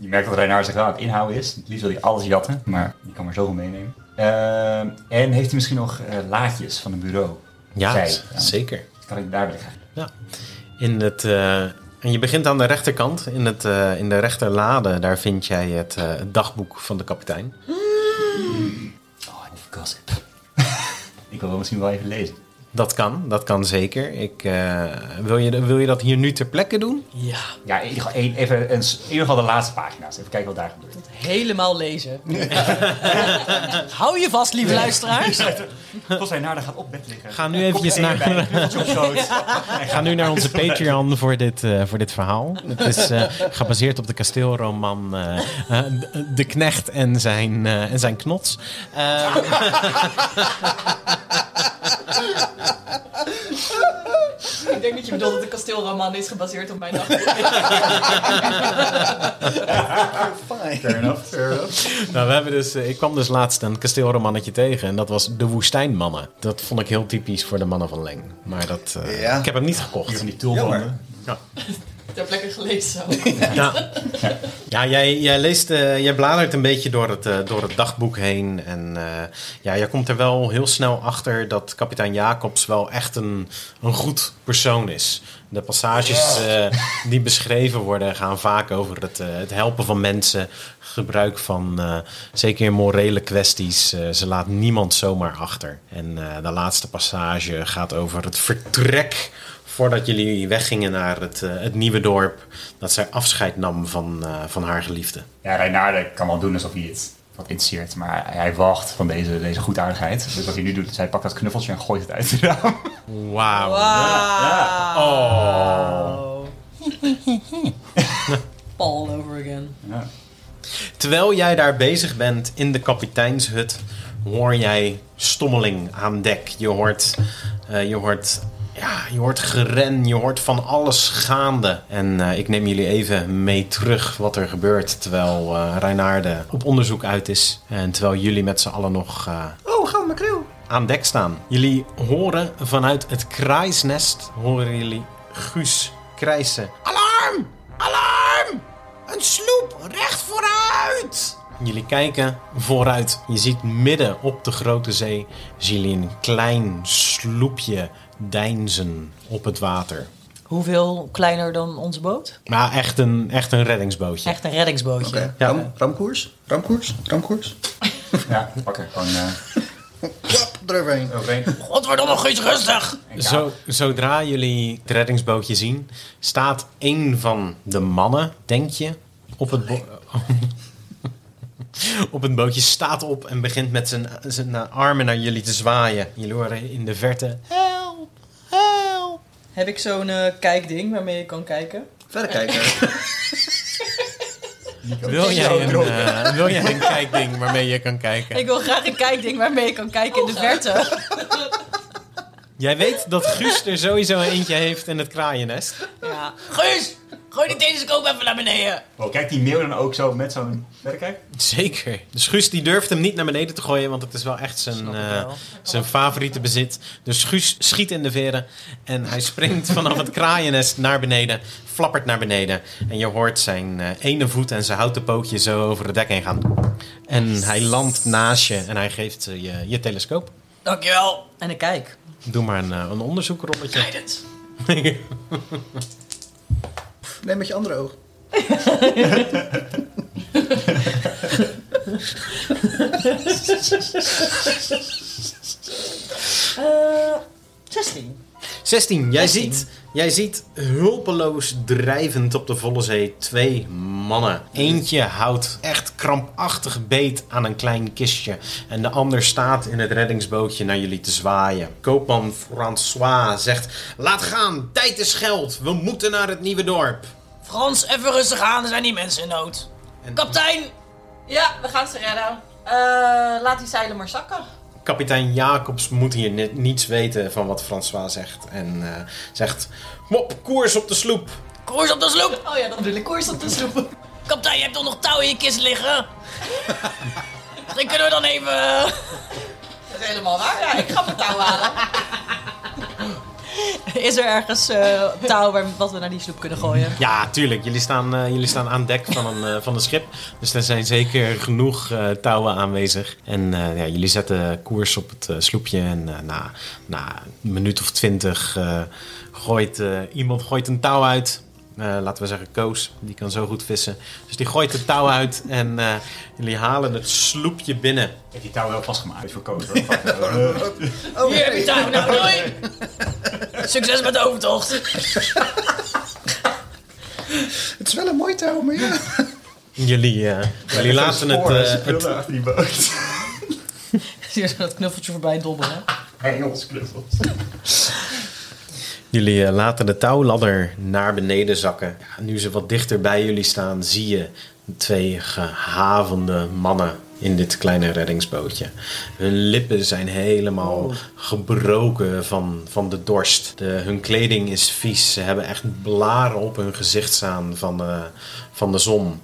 [SPEAKER 3] Je merkt dat Reinaard zich wel aan het inhouden is. Het liefst wil hij alles jatten, maar je kan maar zoveel meenemen. Eh, en heeft hij misschien nog eh, laadjes van een bureau?
[SPEAKER 5] Ja,
[SPEAKER 3] Zij,
[SPEAKER 5] z-
[SPEAKER 3] ja.
[SPEAKER 5] zeker.
[SPEAKER 3] Kan ik daar willen gaan?
[SPEAKER 5] Ja. In het, eh, en je begint aan de rechterkant. In, het, eh, in de rechterlade, daar vind jij het, eh, het dagboek van de kapitein.
[SPEAKER 3] Oh, en even gossip. ik wil wel misschien wel even lezen.
[SPEAKER 5] Dat kan, dat kan zeker. Ik, eh, wil, je, wil je dat hier nu ter plekke doen?
[SPEAKER 1] Ja,
[SPEAKER 3] Ja, in ieder geval, één- even, een- in ieder geval de laatste pagina's. Even kijken wat daar gebeurt.
[SPEAKER 1] helemaal lezen. Hou je vast, lieve luisteraars.
[SPEAKER 3] Tot hij naar de gaat op bed liggen.
[SPEAKER 5] Ga nu eventjes
[SPEAKER 3] Kopje
[SPEAKER 5] naar-
[SPEAKER 3] erbij, een knuffeltje op schoot. En
[SPEAKER 5] Ga nu naar onze Patreon voor dit, eh, voor dit verhaal. Het is eh, gebaseerd op de kasteelroman eh, eh, De Knecht en zijn, eh, en zijn knots. Eh,
[SPEAKER 2] Ik denk dat je bedoelt dat de kasteelroman is gebaseerd op mijn dag.
[SPEAKER 4] Fijn.
[SPEAKER 3] Fair enough, fair enough.
[SPEAKER 5] nou, we hebben dus, eh, ik kwam dus laatst een kasteelromannetje tegen en dat was De Woestijnmannen. Dat vond ik heel typisch voor de mannen van Leng. Maar dat, eh,
[SPEAKER 4] Ja.
[SPEAKER 5] ik heb hem niet
[SPEAKER 3] Hier van
[SPEAKER 5] gekocht.
[SPEAKER 3] die tulbanden.
[SPEAKER 2] Ter plekke gelezen.
[SPEAKER 5] Ja, ja jij, jij, leest, eh, jij bladert een beetje door het, eh, door het dagboek heen. En eh, ja, jij komt er wel heel snel achter dat kapitein Jacobs wel echt een, een goed persoon is. De passages eh, die beschreven worden gaan vaak over het, eh, het helpen van mensen. Gebruik van eh, zeker in morele kwesties. eh, ze laat niemand zomaar achter. En eh, de laatste passage gaat over het vertrek voordat jullie weggingen naar het, eh, het nieuwe dorp, dat zij afscheid nam van, eh, van haar geliefde.
[SPEAKER 3] Ja, Reinaarde kan wel doen alsof hij het wat interesseert. Maar hij, hij wacht van deze, deze goedaardigheid. Dus wat hij nu doet, is hij pakt dat knuffeltje en gooit het uit het raam.
[SPEAKER 5] Wauw.
[SPEAKER 3] Ja.
[SPEAKER 5] Oh.
[SPEAKER 1] All over again.
[SPEAKER 3] Ja.
[SPEAKER 5] Terwijl jij daar bezig bent in de kapiteinshut, hoor jij stommeling aan dek. Je hoort, eh, je hoort, ja, je hoort geren, je hoort van alles gaande. En eh, ik neem jullie even mee terug wat er gebeurt terwijl eh Reinaarde op onderzoek uit is. En terwijl jullie met z'n allen nog eh,
[SPEAKER 4] Oh, gouden makreel.
[SPEAKER 5] aan dek staan. Jullie horen vanuit het kraaisnest, horen jullie Guus krijsen. Alarm! Alarm! Een sloep recht vooruit! Jullie kijken vooruit. Je ziet midden op de grote zee zien jullie een klein sloepje deinzen op het water.
[SPEAKER 6] Hoeveel kleiner dan onze boot?
[SPEAKER 5] Maar echt een, echt een reddingsbootje.
[SPEAKER 6] Echt een reddingsbootje.
[SPEAKER 4] Oké,
[SPEAKER 5] Ja.
[SPEAKER 4] ram, ramkoers, ramkoers, ramkoers.
[SPEAKER 3] ja, pak er gewoon eh,
[SPEAKER 4] Klap, eroverheen.
[SPEAKER 3] overheen.
[SPEAKER 1] Godverdomme, Guus, rustig!
[SPEAKER 5] Zo, zodra jullie het reddingsbootje zien, staat een van de mannen, denk je, op het, bo- op het bootje, staat op en begint met zijn, zijn armen naar jullie te zwaaien. Jullie horen in de verte.
[SPEAKER 1] Help, help. Heb ik zo'n eh, kijkding waarmee je kan kijken?
[SPEAKER 4] Verder kijken.
[SPEAKER 5] Wil jij een, eh, wil jij een kijkding waarmee je kan kijken?
[SPEAKER 1] Ik wil graag een kijkding waarmee je kan kijken in de verte.
[SPEAKER 5] Jij weet dat Guus er sowieso eentje heeft in het kraaiennest.
[SPEAKER 1] Ja.
[SPEAKER 2] Guus, gooi die telescoop even naar beneden.
[SPEAKER 3] Oh, kijk die mail dan ook zo met zo'n... Verder kijk.
[SPEAKER 5] Zeker. Dus Guus die durft hem niet naar beneden te gooien, want het is wel echt zijn, eh, zijn favoriete bezit. Dus Guus schiet in de veren en hij springt vanaf het kraaiennest naar beneden, flappert naar beneden. En je hoort zijn eh, ene voet en zijn houten pootje zo over het dek heen gaan. En hij landt naast je en hij geeft eh, je, je telescoop.
[SPEAKER 2] Dankjewel.
[SPEAKER 6] En ik kijk.
[SPEAKER 5] Doe maar een, eh, een onderzoekrolletje.
[SPEAKER 2] Guidance.
[SPEAKER 4] Nee, met je andere oog.
[SPEAKER 6] Eh 16.
[SPEAKER 5] 16. Jij ziet, jij ziet hulpeloos drijvend op de volle zee twee mannen. Eentje houdt echt krampachtig beet aan een klein kistje. En de ander staat in het reddingsbootje naar jullie te zwaaien. Koopman François zegt: Laat gaan, tijd is geld. We moeten naar het nieuwe dorp.
[SPEAKER 1] Frans, even rustig aan, er zijn die mensen in nood.
[SPEAKER 5] En
[SPEAKER 1] Kaptein!
[SPEAKER 2] Ja, we gaan ze redden. Eh, laat die zeilen maar zakken.
[SPEAKER 5] kapitein Jacobs moet hier ni- niets weten van wat François zegt. En eh, zegt: Mop, koers op de sloep.
[SPEAKER 1] Koers op de sloep!
[SPEAKER 2] Oh ja, dan bedoel ik koers op de sloep.
[SPEAKER 1] Kaptein, je hebt toch nog touw in je kist liggen? Misschien kunnen we dan even...
[SPEAKER 2] Dat is helemaal waar. Ja, ik ga mijn touw halen.
[SPEAKER 6] Is er ergens eh, touw waar, wat we naar die sloep kunnen gooien?
[SPEAKER 5] Ja, tuurlijk. Jullie staan, eh, jullie staan aan dek van een, eh, van een schip. Dus er zijn zeker genoeg eh, touwen aanwezig. En eh, ja, jullie zetten koers op het eh, sloepje. En eh, na, na een minuut of twintig eh, gooit eh, iemand gooit een touw uit. Eh, laten we zeggen Koos, die kan zo goed vissen. Dus die gooit de touw uit en eh, jullie halen het sloepje binnen.
[SPEAKER 3] Heb je touw wel vastgemaakt voor Koos? hoor. Pak, eh,
[SPEAKER 4] Oh,
[SPEAKER 1] Hier heb je
[SPEAKER 4] nee.
[SPEAKER 1] touw, nou doei! Succes met de overtocht!
[SPEAKER 4] Het is wel een mooi touw, maar ja.
[SPEAKER 5] Jullie, eh, jullie laten het,
[SPEAKER 3] sporen,
[SPEAKER 5] eh,
[SPEAKER 3] ze
[SPEAKER 5] het,
[SPEAKER 3] krullen achter die boot.
[SPEAKER 6] Hier is dat knuffeltje voorbij dobbelen.
[SPEAKER 3] Engels knuffels.
[SPEAKER 5] Jullie eh, laten de touwladder naar beneden zakken. Ja, nu ze wat dichter bij jullie staan, zie je twee gehavende mannen in dit kleine reddingsbootje. Hun lippen zijn helemaal gebroken van, van de dorst. De- hun kleding is vies. Ze hebben echt blaren op hun gezicht staan van, eh, van de zon.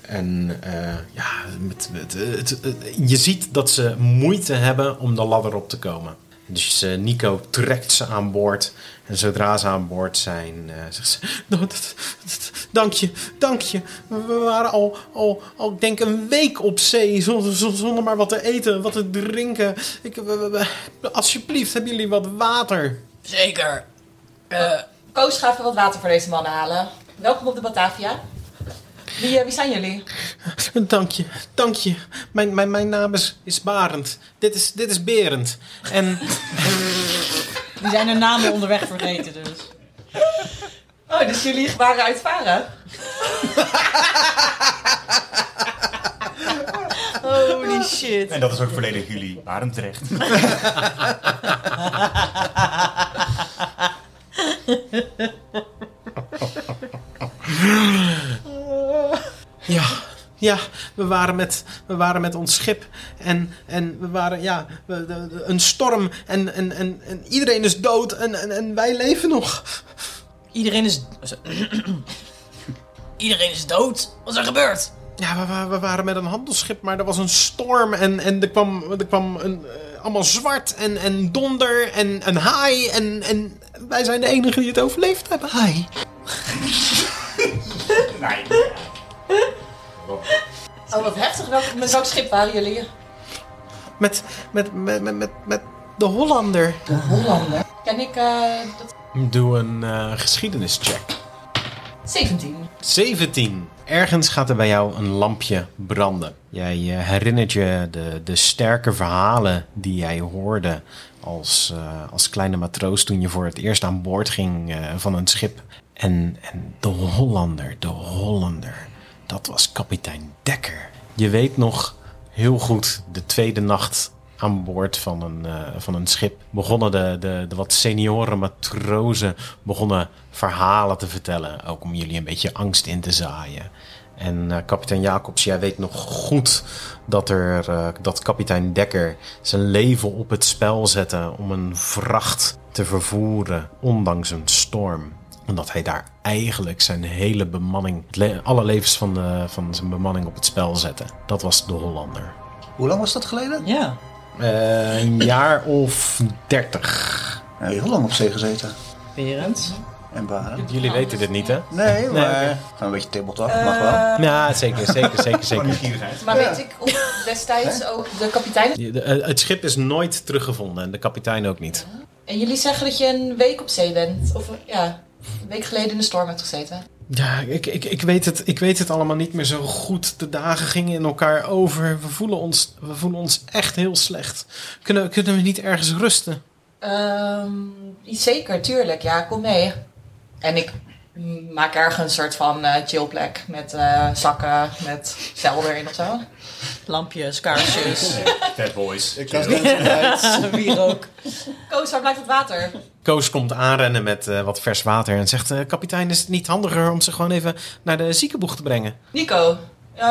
[SPEAKER 5] En eh, ja, met, met- eh, het- het- je ziet dat ze moeite hebben om de ladder op te komen. Dus eh, Nico trekt ze aan boord. En zodra ze aan boord zijn, eh, zegt ze... "Nou, dat- dat- Dank je, dank je. We waren al, al, al ik denk een week op zee zonder, zonder zonder maar wat te eten, wat te drinken. Ik, we- we- we- alsjeblieft, hebben jullie wat water?
[SPEAKER 1] Zeker. Eh,
[SPEAKER 2] Koos, ga even wat water voor deze mannen halen. Welkom op de Batavia. Wie, eh, wie zijn jullie?
[SPEAKER 5] Dank je, dank je. Mijn, mijn, mijn naam is, is Barend. Dit is, dit is Berend. En...
[SPEAKER 6] Die zijn hun namen onderweg vergeten dus.
[SPEAKER 2] Oh, dus jullie waren uit Varen?
[SPEAKER 6] Oh shit.
[SPEAKER 3] En dat is ook volledig jullie Barendrecht.
[SPEAKER 5] Ja, ja we, waren met, we waren met ons schip. En, en we waren, ja, we- de- de- een storm. En, en, en, en iedereen is dood. En, en, en wij leven nog.
[SPEAKER 1] Iedereen is. Iedereen is dood. Wat is er gebeurd?
[SPEAKER 5] Ja, we, wa- we waren met een handelsschip, maar er was een storm. En, en er kwam, er kwam een, eh, allemaal zwart. En, en donder. En een haai. En, en wij zijn de enigen die het overleefd hebben. Haai.
[SPEAKER 3] nee.
[SPEAKER 2] Oh, wat heftig. Welk, met welk schip waren jullie?
[SPEAKER 5] Met, met, met, met, met, met de Hollander.
[SPEAKER 2] Hollander. Ken ik eh, dat...
[SPEAKER 5] Doe een eh, geschiedenischeck.
[SPEAKER 2] 17.
[SPEAKER 5] 17. Ergens gaat er bij jou een lampje branden. Jij eh, herinnert je de, de sterke verhalen die jij hoorde als, eh, als kleine matroos toen je voor het eerst aan boord ging eh, van een schip. En, en de Hollander, de Hollander, dat was kapitein Dekker. Je weet nog heel goed de tweede nacht aan boord van een, eh, van een schip begonnen de, de, de wat senioren matrozen begonnen verhalen te vertellen. Ook om jullie een beetje angst in te zaaien. En eh, kapitein Jacobs, jij weet nog goed dat, er, eh, dat kapitein Dekker zijn leven op het spel zette om een vracht te vervoeren, ondanks een storm omdat hij daar eigenlijk zijn hele bemanning, het le- alle levens van, de, van zijn bemanning op het spel zette. Dat was de Hollander.
[SPEAKER 4] Hoe lang was dat geleden?
[SPEAKER 6] Ja.
[SPEAKER 5] Eh, een jaar of dertig.
[SPEAKER 4] We hebben heel lang op zee gezeten.
[SPEAKER 6] Berend.
[SPEAKER 4] En waren.
[SPEAKER 5] Jullie weten dit niet, hè?
[SPEAKER 4] Nee, maar... Gaan een beetje tibbelt af, mag wel.
[SPEAKER 5] Ja, zeker, zeker, zeker,
[SPEAKER 3] Van
[SPEAKER 5] zeker.
[SPEAKER 3] nieuwsgierigheid.
[SPEAKER 2] Maar weet ik of destijds ook de kapitein...
[SPEAKER 5] Je- de- eh, het schip is nooit teruggevonden en de kapitein ook niet.
[SPEAKER 2] En jullie zeggen dat je een week op zee bent. Of ja, een week geleden in de storm hebt gezeten.
[SPEAKER 5] Ja, ik, ik, ik, weet het, ik weet het allemaal niet meer zo goed. De dagen gingen in elkaar over. We voelen ons, we voelen ons echt heel slecht. Kunnen, kunnen we niet ergens rusten?
[SPEAKER 2] Ehm, zeker, tuurlijk. Ja, kom mee. En ik mm, maak ergens een soort van eh, chillplek met eh, zakken, met cel erin of zo.
[SPEAKER 6] Lampjes, kaarsjes,
[SPEAKER 3] Bad boys.
[SPEAKER 4] Ik was net uit.
[SPEAKER 6] bier ook.
[SPEAKER 2] Koos, waar blijft het water?
[SPEAKER 5] Koos komt aanrennen met eh, wat vers water en zegt... eh, kapitein, is het niet handiger om ze gewoon even naar de ziekenboeg te brengen?
[SPEAKER 2] Nico, eh,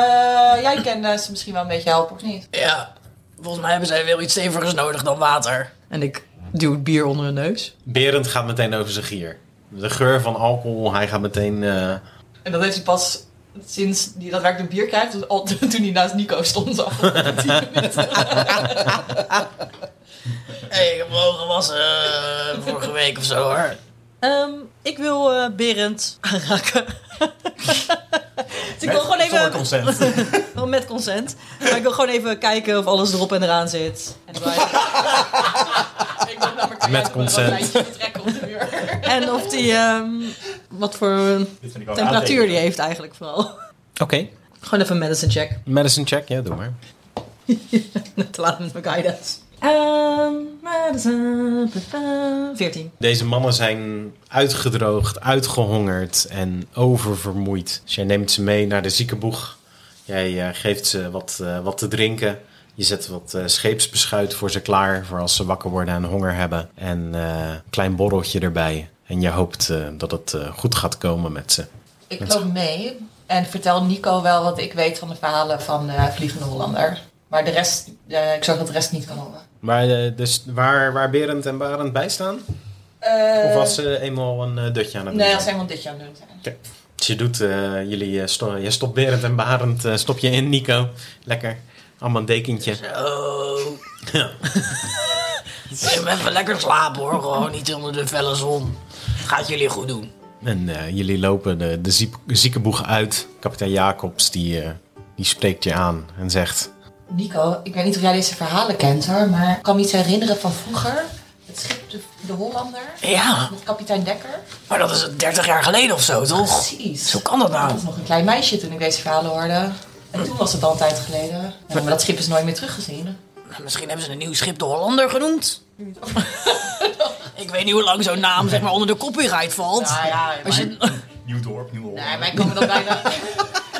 [SPEAKER 2] jij kan eh, ze misschien wel een beetje helpen, of niet?
[SPEAKER 1] Ja, volgens mij hebben zij wel iets stevigers nodig dan water.
[SPEAKER 6] En ik duw het bier onder hun neus.
[SPEAKER 5] Berend gaat meteen over zijn gier. De geur van alcohol, hij gaat meteen... eh,
[SPEAKER 2] En dat heeft hij pas sinds hij dat werk de bier krijgt, dus al, toen hij naast Nico stond. Af.
[SPEAKER 1] Hé, ik heb wel gewassen eh, vorige week of zo hoor.
[SPEAKER 6] Ehm, ik wil eh, Berend aanraken. dus ik wil gewoon
[SPEAKER 3] Zonder
[SPEAKER 6] even,
[SPEAKER 3] consent.
[SPEAKER 6] wel met consent, maar ik wil gewoon even kijken of alles erop en eraan zit. En, waar-
[SPEAKER 2] Ik ben namelijk
[SPEAKER 5] Met
[SPEAKER 2] met
[SPEAKER 5] consent.
[SPEAKER 2] trekken op de muur.
[SPEAKER 6] en of die, ehm, wat voor
[SPEAKER 3] Dit vind ik wel een
[SPEAKER 6] temperatuur die
[SPEAKER 3] aantekening.
[SPEAKER 6] heeft eigenlijk vooral.
[SPEAKER 5] Oké,
[SPEAKER 6] Gewoon even een medicine check.
[SPEAKER 5] medicine check. Ja, doe maar.
[SPEAKER 6] Te laat met mijn guidance. Ehm, medicine, pa, pa, 14.
[SPEAKER 5] Deze mannen zijn uitgedroogd, uitgehongerd en oververmoeid. Dus jij neemt ze mee naar de ziekenboeg. Jij eh, geeft ze wat, eh, wat te drinken. Je zet wat eh, scheepsbeschuit voor ze klaar, voor als ze wakker worden en honger hebben. En eh, een klein borreltje erbij. En je hoopt eh, dat het eh, goed gaat komen met ze.
[SPEAKER 2] Ik loop mee en vertel Nico wel wat ik weet van de verhalen van de Vliegende Hollander. Maar de rest, eh, ik zorg dat de rest niet kan horen.
[SPEAKER 5] Maar eh, dus waar, waar Berend en Barend bij staan?
[SPEAKER 2] Eh, nou
[SPEAKER 5] of was ze eenmaal een eh, dutje aan het
[SPEAKER 2] Nee,
[SPEAKER 5] doen?
[SPEAKER 2] dat zijn we dit jaar aan het doen. zijn.
[SPEAKER 5] Dus je doet, eh, jullie, eh, sto- je stopt Berend en Barend, eh, stop je in, Nico. Lekker. Allemaal een dekentje.
[SPEAKER 1] Zo. Oh. Even lekker slapen hoor, gewoon niet onder de felle zon. Gaat jullie goed doen.
[SPEAKER 5] En eh, jullie lopen de, de ziek- ziekenboeg uit. Kapitein Jacobs die, eh, die spreekt je aan en zegt...
[SPEAKER 2] Nico, ik weet niet of jij deze verhalen kent hoor, maar ik kan me iets herinneren van vroeger. Het schip de, de Hollander
[SPEAKER 1] Ja,
[SPEAKER 2] met kapitein Dekker.
[SPEAKER 1] maar dat is 30 jaar geleden of zo, toch?
[SPEAKER 2] Ah, Precies.
[SPEAKER 1] Hoe kan dat
[SPEAKER 2] Ik
[SPEAKER 1] nou?
[SPEAKER 2] was nog een klein meisje toen ik deze verhalen hoorde. En toen was het al een tijd geleden. Ja, maar dat schip is nooit meer teruggezien.
[SPEAKER 1] Misschien hebben ze een nieuw schip de Hollander genoemd. Ik weet niet hoe lang zo'n naam zeg maar onder de copyright valt.
[SPEAKER 2] Nou ja, maar,
[SPEAKER 1] Als je,
[SPEAKER 3] Nieuw dorp, nieuw
[SPEAKER 2] nee,
[SPEAKER 3] Holland.
[SPEAKER 2] maar ik kan me dat bijna...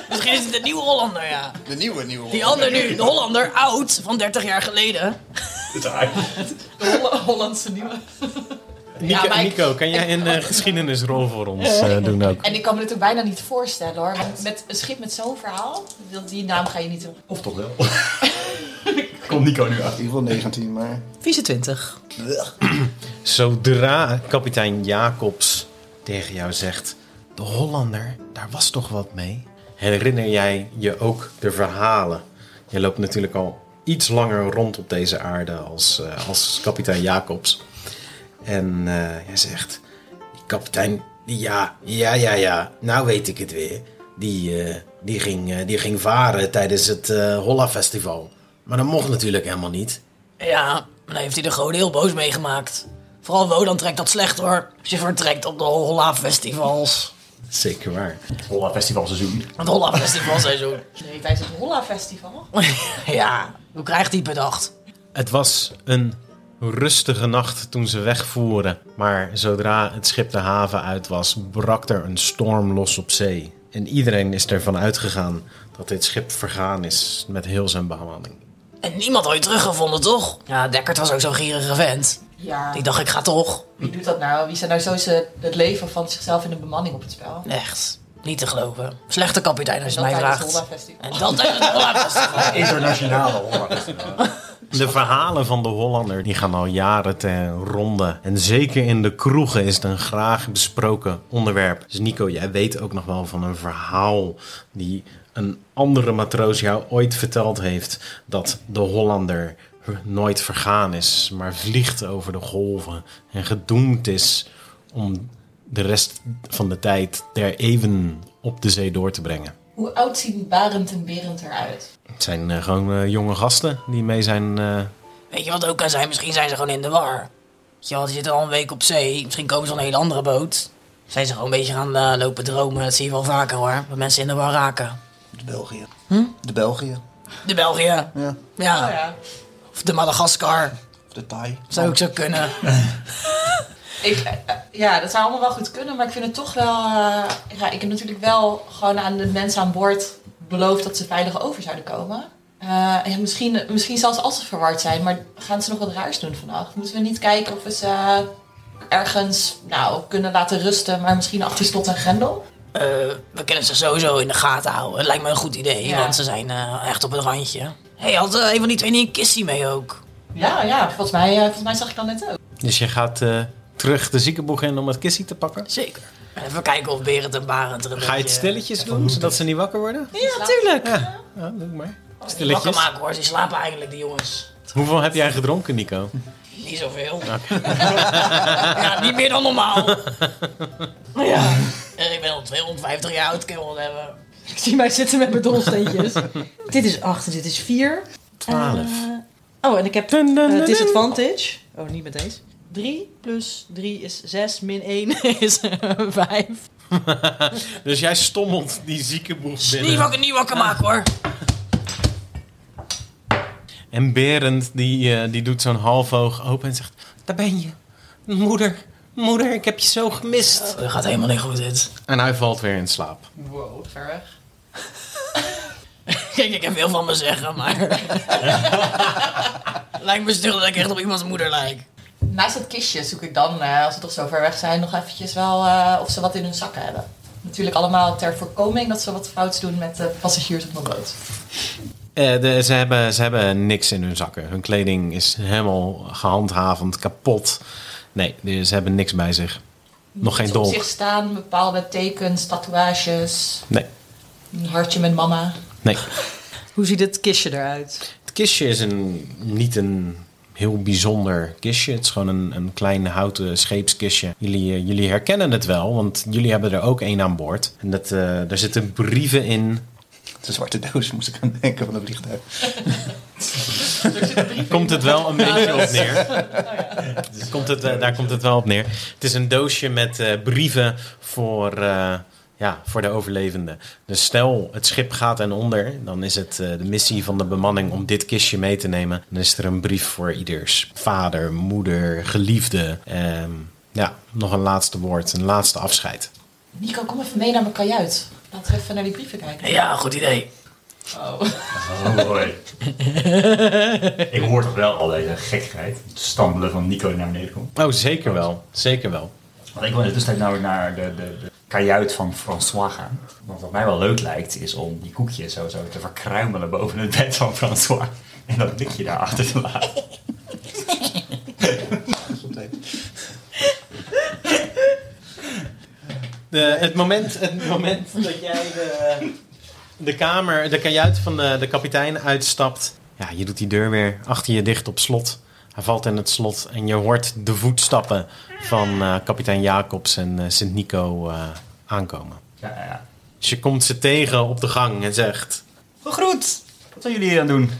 [SPEAKER 1] Misschien is het de nieuwe Hollander, ja.
[SPEAKER 4] De nieuwe, nieuwe.
[SPEAKER 1] Die ander nu, de Hollander, oud, van 30 jaar geleden.
[SPEAKER 2] De Holla- Hollandse nieuwe.
[SPEAKER 5] Nico,
[SPEAKER 2] maar ik-
[SPEAKER 5] Nico, kan jij een eh, geschiedenisrol voor ons eh, doen ook?
[SPEAKER 2] En ik kan me dit ook bijna niet voorstellen hoor. Want met een schip met zo'n verhaal, dat- die naam ga je niet doen.
[SPEAKER 3] Of toch wel? Komt Nico nu achter.
[SPEAKER 4] In ieder geval 19, maar...
[SPEAKER 6] 24.
[SPEAKER 5] Zodra kapitein Jacobs tegen jou zegt: De Hollander, daar was toch wat mee? Herinner jij je ook de verhalen? Je loopt natuurlijk al iets langer rond op deze aarde als, eh, als kapitein Jacobs. En eh hij zegt: "Die Kapitein, die ja, ja, ja, ja, nou weet ik het weer. Die, eh, die, ging, eh, die ging varen tijdens het eh Holla Festival. Maar dat mocht natuurlijk helemaal niet.
[SPEAKER 1] Ja, maar daar heeft hij de goden heel boos meegemaakt. Vooral Wodan trekt dat slecht hoor. Als je vertrekt op de Holla-festivals.
[SPEAKER 5] Zeker waar.
[SPEAKER 3] Holla festivalseizoen.
[SPEAKER 1] Het Holla-festivalseizoen.
[SPEAKER 2] Nee, tijdens het Holla Festival.
[SPEAKER 1] ja, hoe krijgt hij het bedacht?
[SPEAKER 5] Het was een rustige nacht toen ze wegvoeren. Maar zodra het schip de haven uit was, brak er een storm los op zee. En iedereen is ervan uitgegaan dat dit schip vergaan is met heel zijn bemanning.
[SPEAKER 1] En niemand had je teruggevonden, toch? Ja, Dekkert was ook zo'n gierige vent.
[SPEAKER 2] Ja,
[SPEAKER 1] Die dacht, ik ga toch.
[SPEAKER 2] wie doet dat nou? Wie zet nou zo ze- het leven van zichzelf in een bemanning op het spel?
[SPEAKER 1] Echt, niet te geloven. Slechte kapitein als je het mij
[SPEAKER 2] tijdens het
[SPEAKER 1] vraagt.
[SPEAKER 2] Holla Festival.
[SPEAKER 1] En dat is het Holla-festival.
[SPEAKER 3] Internationale Holla festival.
[SPEAKER 5] De verhalen van de Hollander die gaan al jaren ten ronde. En zeker in de kroegen is het een graag besproken onderwerp. Dus Nico, jij weet ook nog wel van een verhaal die een andere matroos jou ooit verteld heeft. Dat de Hollander nooit vergaan is, maar vliegt over de golven en gedoemd is om de rest van de tijd der eeuwen op de zee door te brengen.
[SPEAKER 2] Hoe oud zien Barend en Berend eruit?
[SPEAKER 5] Het zijn eh, gewoon eh, jonge gasten die mee zijn eh,
[SPEAKER 1] Weet je wat ook kan zijn? Misschien zijn ze gewoon in de war. Weet je wel, die zitten al een week op zee. Misschien komen ze op een hele andere boot. Zijn ze gewoon een beetje gaan eh, lopen dromen. Dat zie je wel vaker hoor. Dat mensen in de war raken.
[SPEAKER 4] De België. De België.
[SPEAKER 1] De België.
[SPEAKER 4] Ja.
[SPEAKER 1] Ja.
[SPEAKER 2] Oh ja.
[SPEAKER 1] Of de Madagaskar.
[SPEAKER 4] Of de Thai.
[SPEAKER 1] Zou ook zo kunnen.
[SPEAKER 2] Ik, eh, eh, ja, dat zou allemaal wel goed kunnen, maar ik vind het toch wel. eh, ja, ik heb natuurlijk wel gewoon aan de mensen aan boord beloofd dat ze veilig over zouden komen. Eh, en misschien, misschien zelfs als ze verward zijn, maar gaan ze nog wat raars doen vannacht? Moeten we niet kijken of we ze eh, ergens nou, kunnen laten rusten, maar misschien achter slot en grendel?
[SPEAKER 1] Eh, we kunnen ze sowieso in de gaten houden. Het lijkt me een goed idee,
[SPEAKER 2] Ja.
[SPEAKER 1] want ze zijn eh, echt op het randje. Hé, hey, had eh, een van die twee niet een kissie mee ook?
[SPEAKER 2] Ja, ja volgens, mij, eh, volgens mij zag ik dat net ook.
[SPEAKER 5] Dus je gaat eh, terug de ziekenboeg in om het kissie te pakken?
[SPEAKER 1] Zeker. En even kijken of Berend en Barend er een
[SPEAKER 5] Ga je het
[SPEAKER 1] beetje-
[SPEAKER 5] stilletjes doen, zodat ze niet wakker worden?
[SPEAKER 1] Ja, tuurlijk.
[SPEAKER 5] Ja, doe maar.
[SPEAKER 1] Wakker
[SPEAKER 5] Stilletjes.
[SPEAKER 1] maken hoor, ze slapen eigenlijk die jongens.
[SPEAKER 5] Hoeveel heb jij gedronken, Nico?
[SPEAKER 1] Niet zoveel. ja, niet meer dan normaal. ja. En ik ben al 250 jaar oud, kunnen we wat hebben.
[SPEAKER 2] Ik zie mij zitten met mijn dolsteentjes.
[SPEAKER 7] Dit is 8 en dit is 4.
[SPEAKER 5] Twaalf.
[SPEAKER 7] Oh, en ik heb
[SPEAKER 5] Dun, dun,
[SPEAKER 7] eh,
[SPEAKER 5] dun,
[SPEAKER 7] disadvantage. Oh, niet met deze. 3 plus 3 is 6, min 1 is eh, 5.
[SPEAKER 5] Dus jij stommelt die ziekenboeg
[SPEAKER 1] Niet
[SPEAKER 5] binnen.
[SPEAKER 1] wakker, niet wakker
[SPEAKER 7] Ah.
[SPEAKER 1] maken hoor.
[SPEAKER 5] En Berend, die, eh, die doet zo'n half oog open en zegt... Daar ben je. Moeder, moeder, ik heb je zo gemist.
[SPEAKER 1] Dat gaat helemaal niet goed dit.
[SPEAKER 5] En hij valt weer in slaap.
[SPEAKER 2] Wow, ver weg.
[SPEAKER 1] Kijk, ik heb veel van me zeggen, maar... lijkt me stil dat ik echt op iemands moeder lijk.
[SPEAKER 2] Naast het kistje zoek ik dan, eh, als ze toch zo ver weg zijn, nog eventjes wel eh, of ze wat in hun zakken hebben. Natuurlijk allemaal ter voorkoming dat ze wat fouts doen met de passagiers op de boot.
[SPEAKER 5] Eh, de- ze, hebben, ze hebben niks in hun zakken. Hun kleding is helemaal gehandhavend, kapot. Nee, de- ze hebben niks bij zich. Nog geen
[SPEAKER 2] Op
[SPEAKER 5] dolk.
[SPEAKER 2] zich staan bepaalde tekens, tatoeages,
[SPEAKER 5] Nee,
[SPEAKER 2] een hartje met mama.
[SPEAKER 5] nee.
[SPEAKER 7] Hoe ziet het kistje eruit?
[SPEAKER 5] Het kistje is een, niet een heel bijzonder kistje. Het is gewoon een, een klein houten scheepskistje. Jullie, eh, jullie herkennen het wel, want jullie hebben er ook één aan boord. En dat, eh, daar zitten brieven in.
[SPEAKER 4] De zwarte doos moest ik aan denken van een vliegtuig.
[SPEAKER 5] Komt het wel een beetje op neer? Daar komt het, eh, daar komt het wel op neer. Het is een doosje met eh, brieven voor, eh, ja, voor de overlevenden. Dus stel het schip gaat en onder, dan is het eh, de missie van de bemanning om dit kistje mee te nemen. Dan is er een brief voor ieders vader, moeder, geliefde. Ehm, ja, nog een laatste woord, een laatste afscheid.
[SPEAKER 2] Nico, kom even mee naar mijn kajuit. Laten we even naar die brieven kijken.
[SPEAKER 1] Ja, goed idee.
[SPEAKER 2] Oh.
[SPEAKER 3] Oh, mooi. ik hoor toch wel al deze gekheid. Het stammelen van Nico die naar beneden komt.
[SPEAKER 5] Oh, zeker wel. Zeker wel.
[SPEAKER 3] Want ik wil in de tussentijd namelijk naar de, de, de kajuit van François gaan. Want wat mij wel leuk lijkt, is om die koekjes zo, zo te verkruimelen boven het bed van François. En dat blikje daarachter te laten.
[SPEAKER 5] De, het, moment, het moment dat jij de, de kamer, de kajuit van de, de kapitein uitstapt. Ja, je doet die deur weer achter je dicht op slot. Hij valt in het slot en je hoort de voetstappen van eh, kapitein Jacobs en eh, Sint-Nico aankomen.
[SPEAKER 3] Ja, ja, ja.
[SPEAKER 5] Dus je komt ze tegen op de gang en zegt...
[SPEAKER 3] Goed, wat zijn jullie hier aan het doen?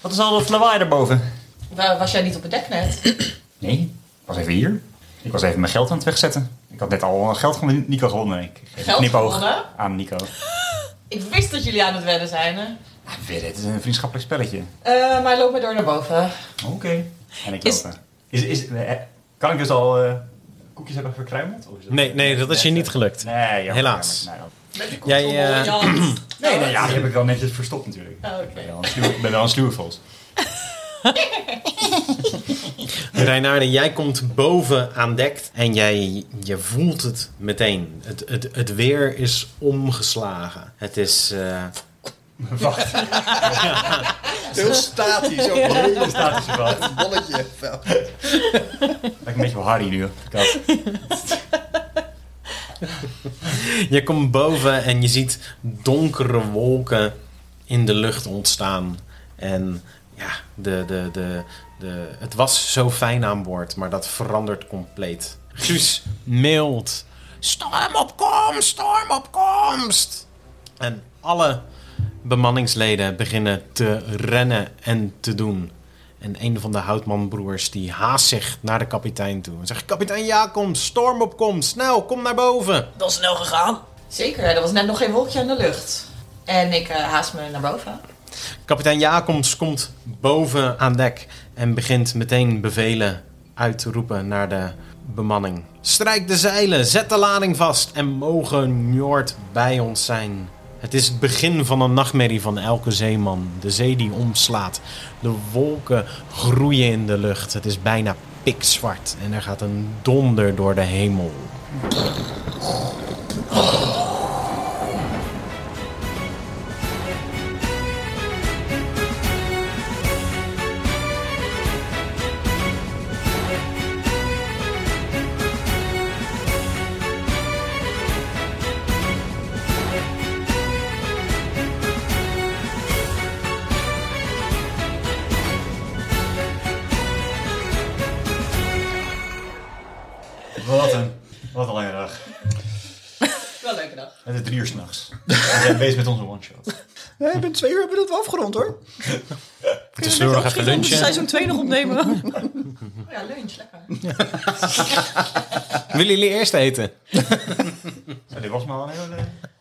[SPEAKER 3] Wat is al dat lawaai daarboven?
[SPEAKER 2] Wa- Was jij niet op het dek net?
[SPEAKER 3] Nee, ik was even hier. Ik was even mijn geld aan het wegzetten. Ik had net al eh, geld van Nico gewonnen. Ik geef een
[SPEAKER 2] Geld
[SPEAKER 3] knipoog
[SPEAKER 2] gewonnen?
[SPEAKER 3] aan Nico.
[SPEAKER 2] Ik wist dat jullie aan het wedden zijn. Hè?
[SPEAKER 3] Ik weet het, het is een vriendschappelijk spelletje.
[SPEAKER 2] Eh, maar loop maar door naar boven.
[SPEAKER 3] Oké. En ik
[SPEAKER 2] Is-
[SPEAKER 3] loop naar- is, is, eh, Kan ik dus al eh, koekjes hebben verkruimeld? Of is dat-
[SPEAKER 5] Nee, nee, dat is je niet gelukt.
[SPEAKER 3] Nee, jammer,
[SPEAKER 5] Helaas.
[SPEAKER 3] jammer. Nee,
[SPEAKER 5] Jij, eh,
[SPEAKER 2] Jan.
[SPEAKER 3] Nee, nee, ja, die heb ik wel netjes verstopt natuurlijk.
[SPEAKER 2] Oh, oké.
[SPEAKER 3] Ik ben wel een sluwe- ik ben wel een sluwe vos.
[SPEAKER 5] Reinaarde, jij komt boven aan dek en jij je voelt het meteen. Het, het, het weer is omgeslagen. Het is... eh,
[SPEAKER 3] Wacht, er
[SPEAKER 4] Heel statisch. Ook een hele
[SPEAKER 3] staat dus wel.
[SPEAKER 4] bolletje.
[SPEAKER 3] Ik een beetje wel Harry nu. Kat.
[SPEAKER 5] je komt boven en je ziet donkere wolken in de lucht ontstaan. En ja, de, de, de, de, het was zo fijn aan boord, maar dat verandert compleet. Guus mailt. Storm op komst, storm op komst. En alle bemanningsleden beginnen te rennen en te doen. En een van de houtmanbroers die haast zich naar de kapitein toe. En zegt, kapitein Jacobs, storm op komst, snel, kom naar boven.
[SPEAKER 1] Dat is snel gegaan.
[SPEAKER 2] Zeker, er was net nog geen wolkje in de lucht. En ik eh, haast me naar boven.
[SPEAKER 5] Kapitein Jacobs komt boven aan dek en begint meteen bevelen uit te roepen naar de bemanning. Strijk de zeilen, zet de lading vast en mogen Njord bij ons zijn. Het is het begin van een nachtmerrie van elke zeeman. De zee die omslaat. De wolken groeien in de lucht. Het is bijna pikzwart en er gaat een donder door de hemel.
[SPEAKER 3] Wat een, wat een lange dag.
[SPEAKER 2] Wel een leuke dag.
[SPEAKER 3] Het is drie uur s'nachts. We zijn bezig met onze one-shot.
[SPEAKER 4] Nee, binnen twee uur hebben we dat wel afgerond hoor.
[SPEAKER 5] Het is nog even lunchen.
[SPEAKER 7] Seizoen 2 nog opnemen.
[SPEAKER 2] Oh ja, lunch, lekker.
[SPEAKER 5] Willen jullie eerst eten?
[SPEAKER 3] Dit Oh, was maar wel een heel... eh,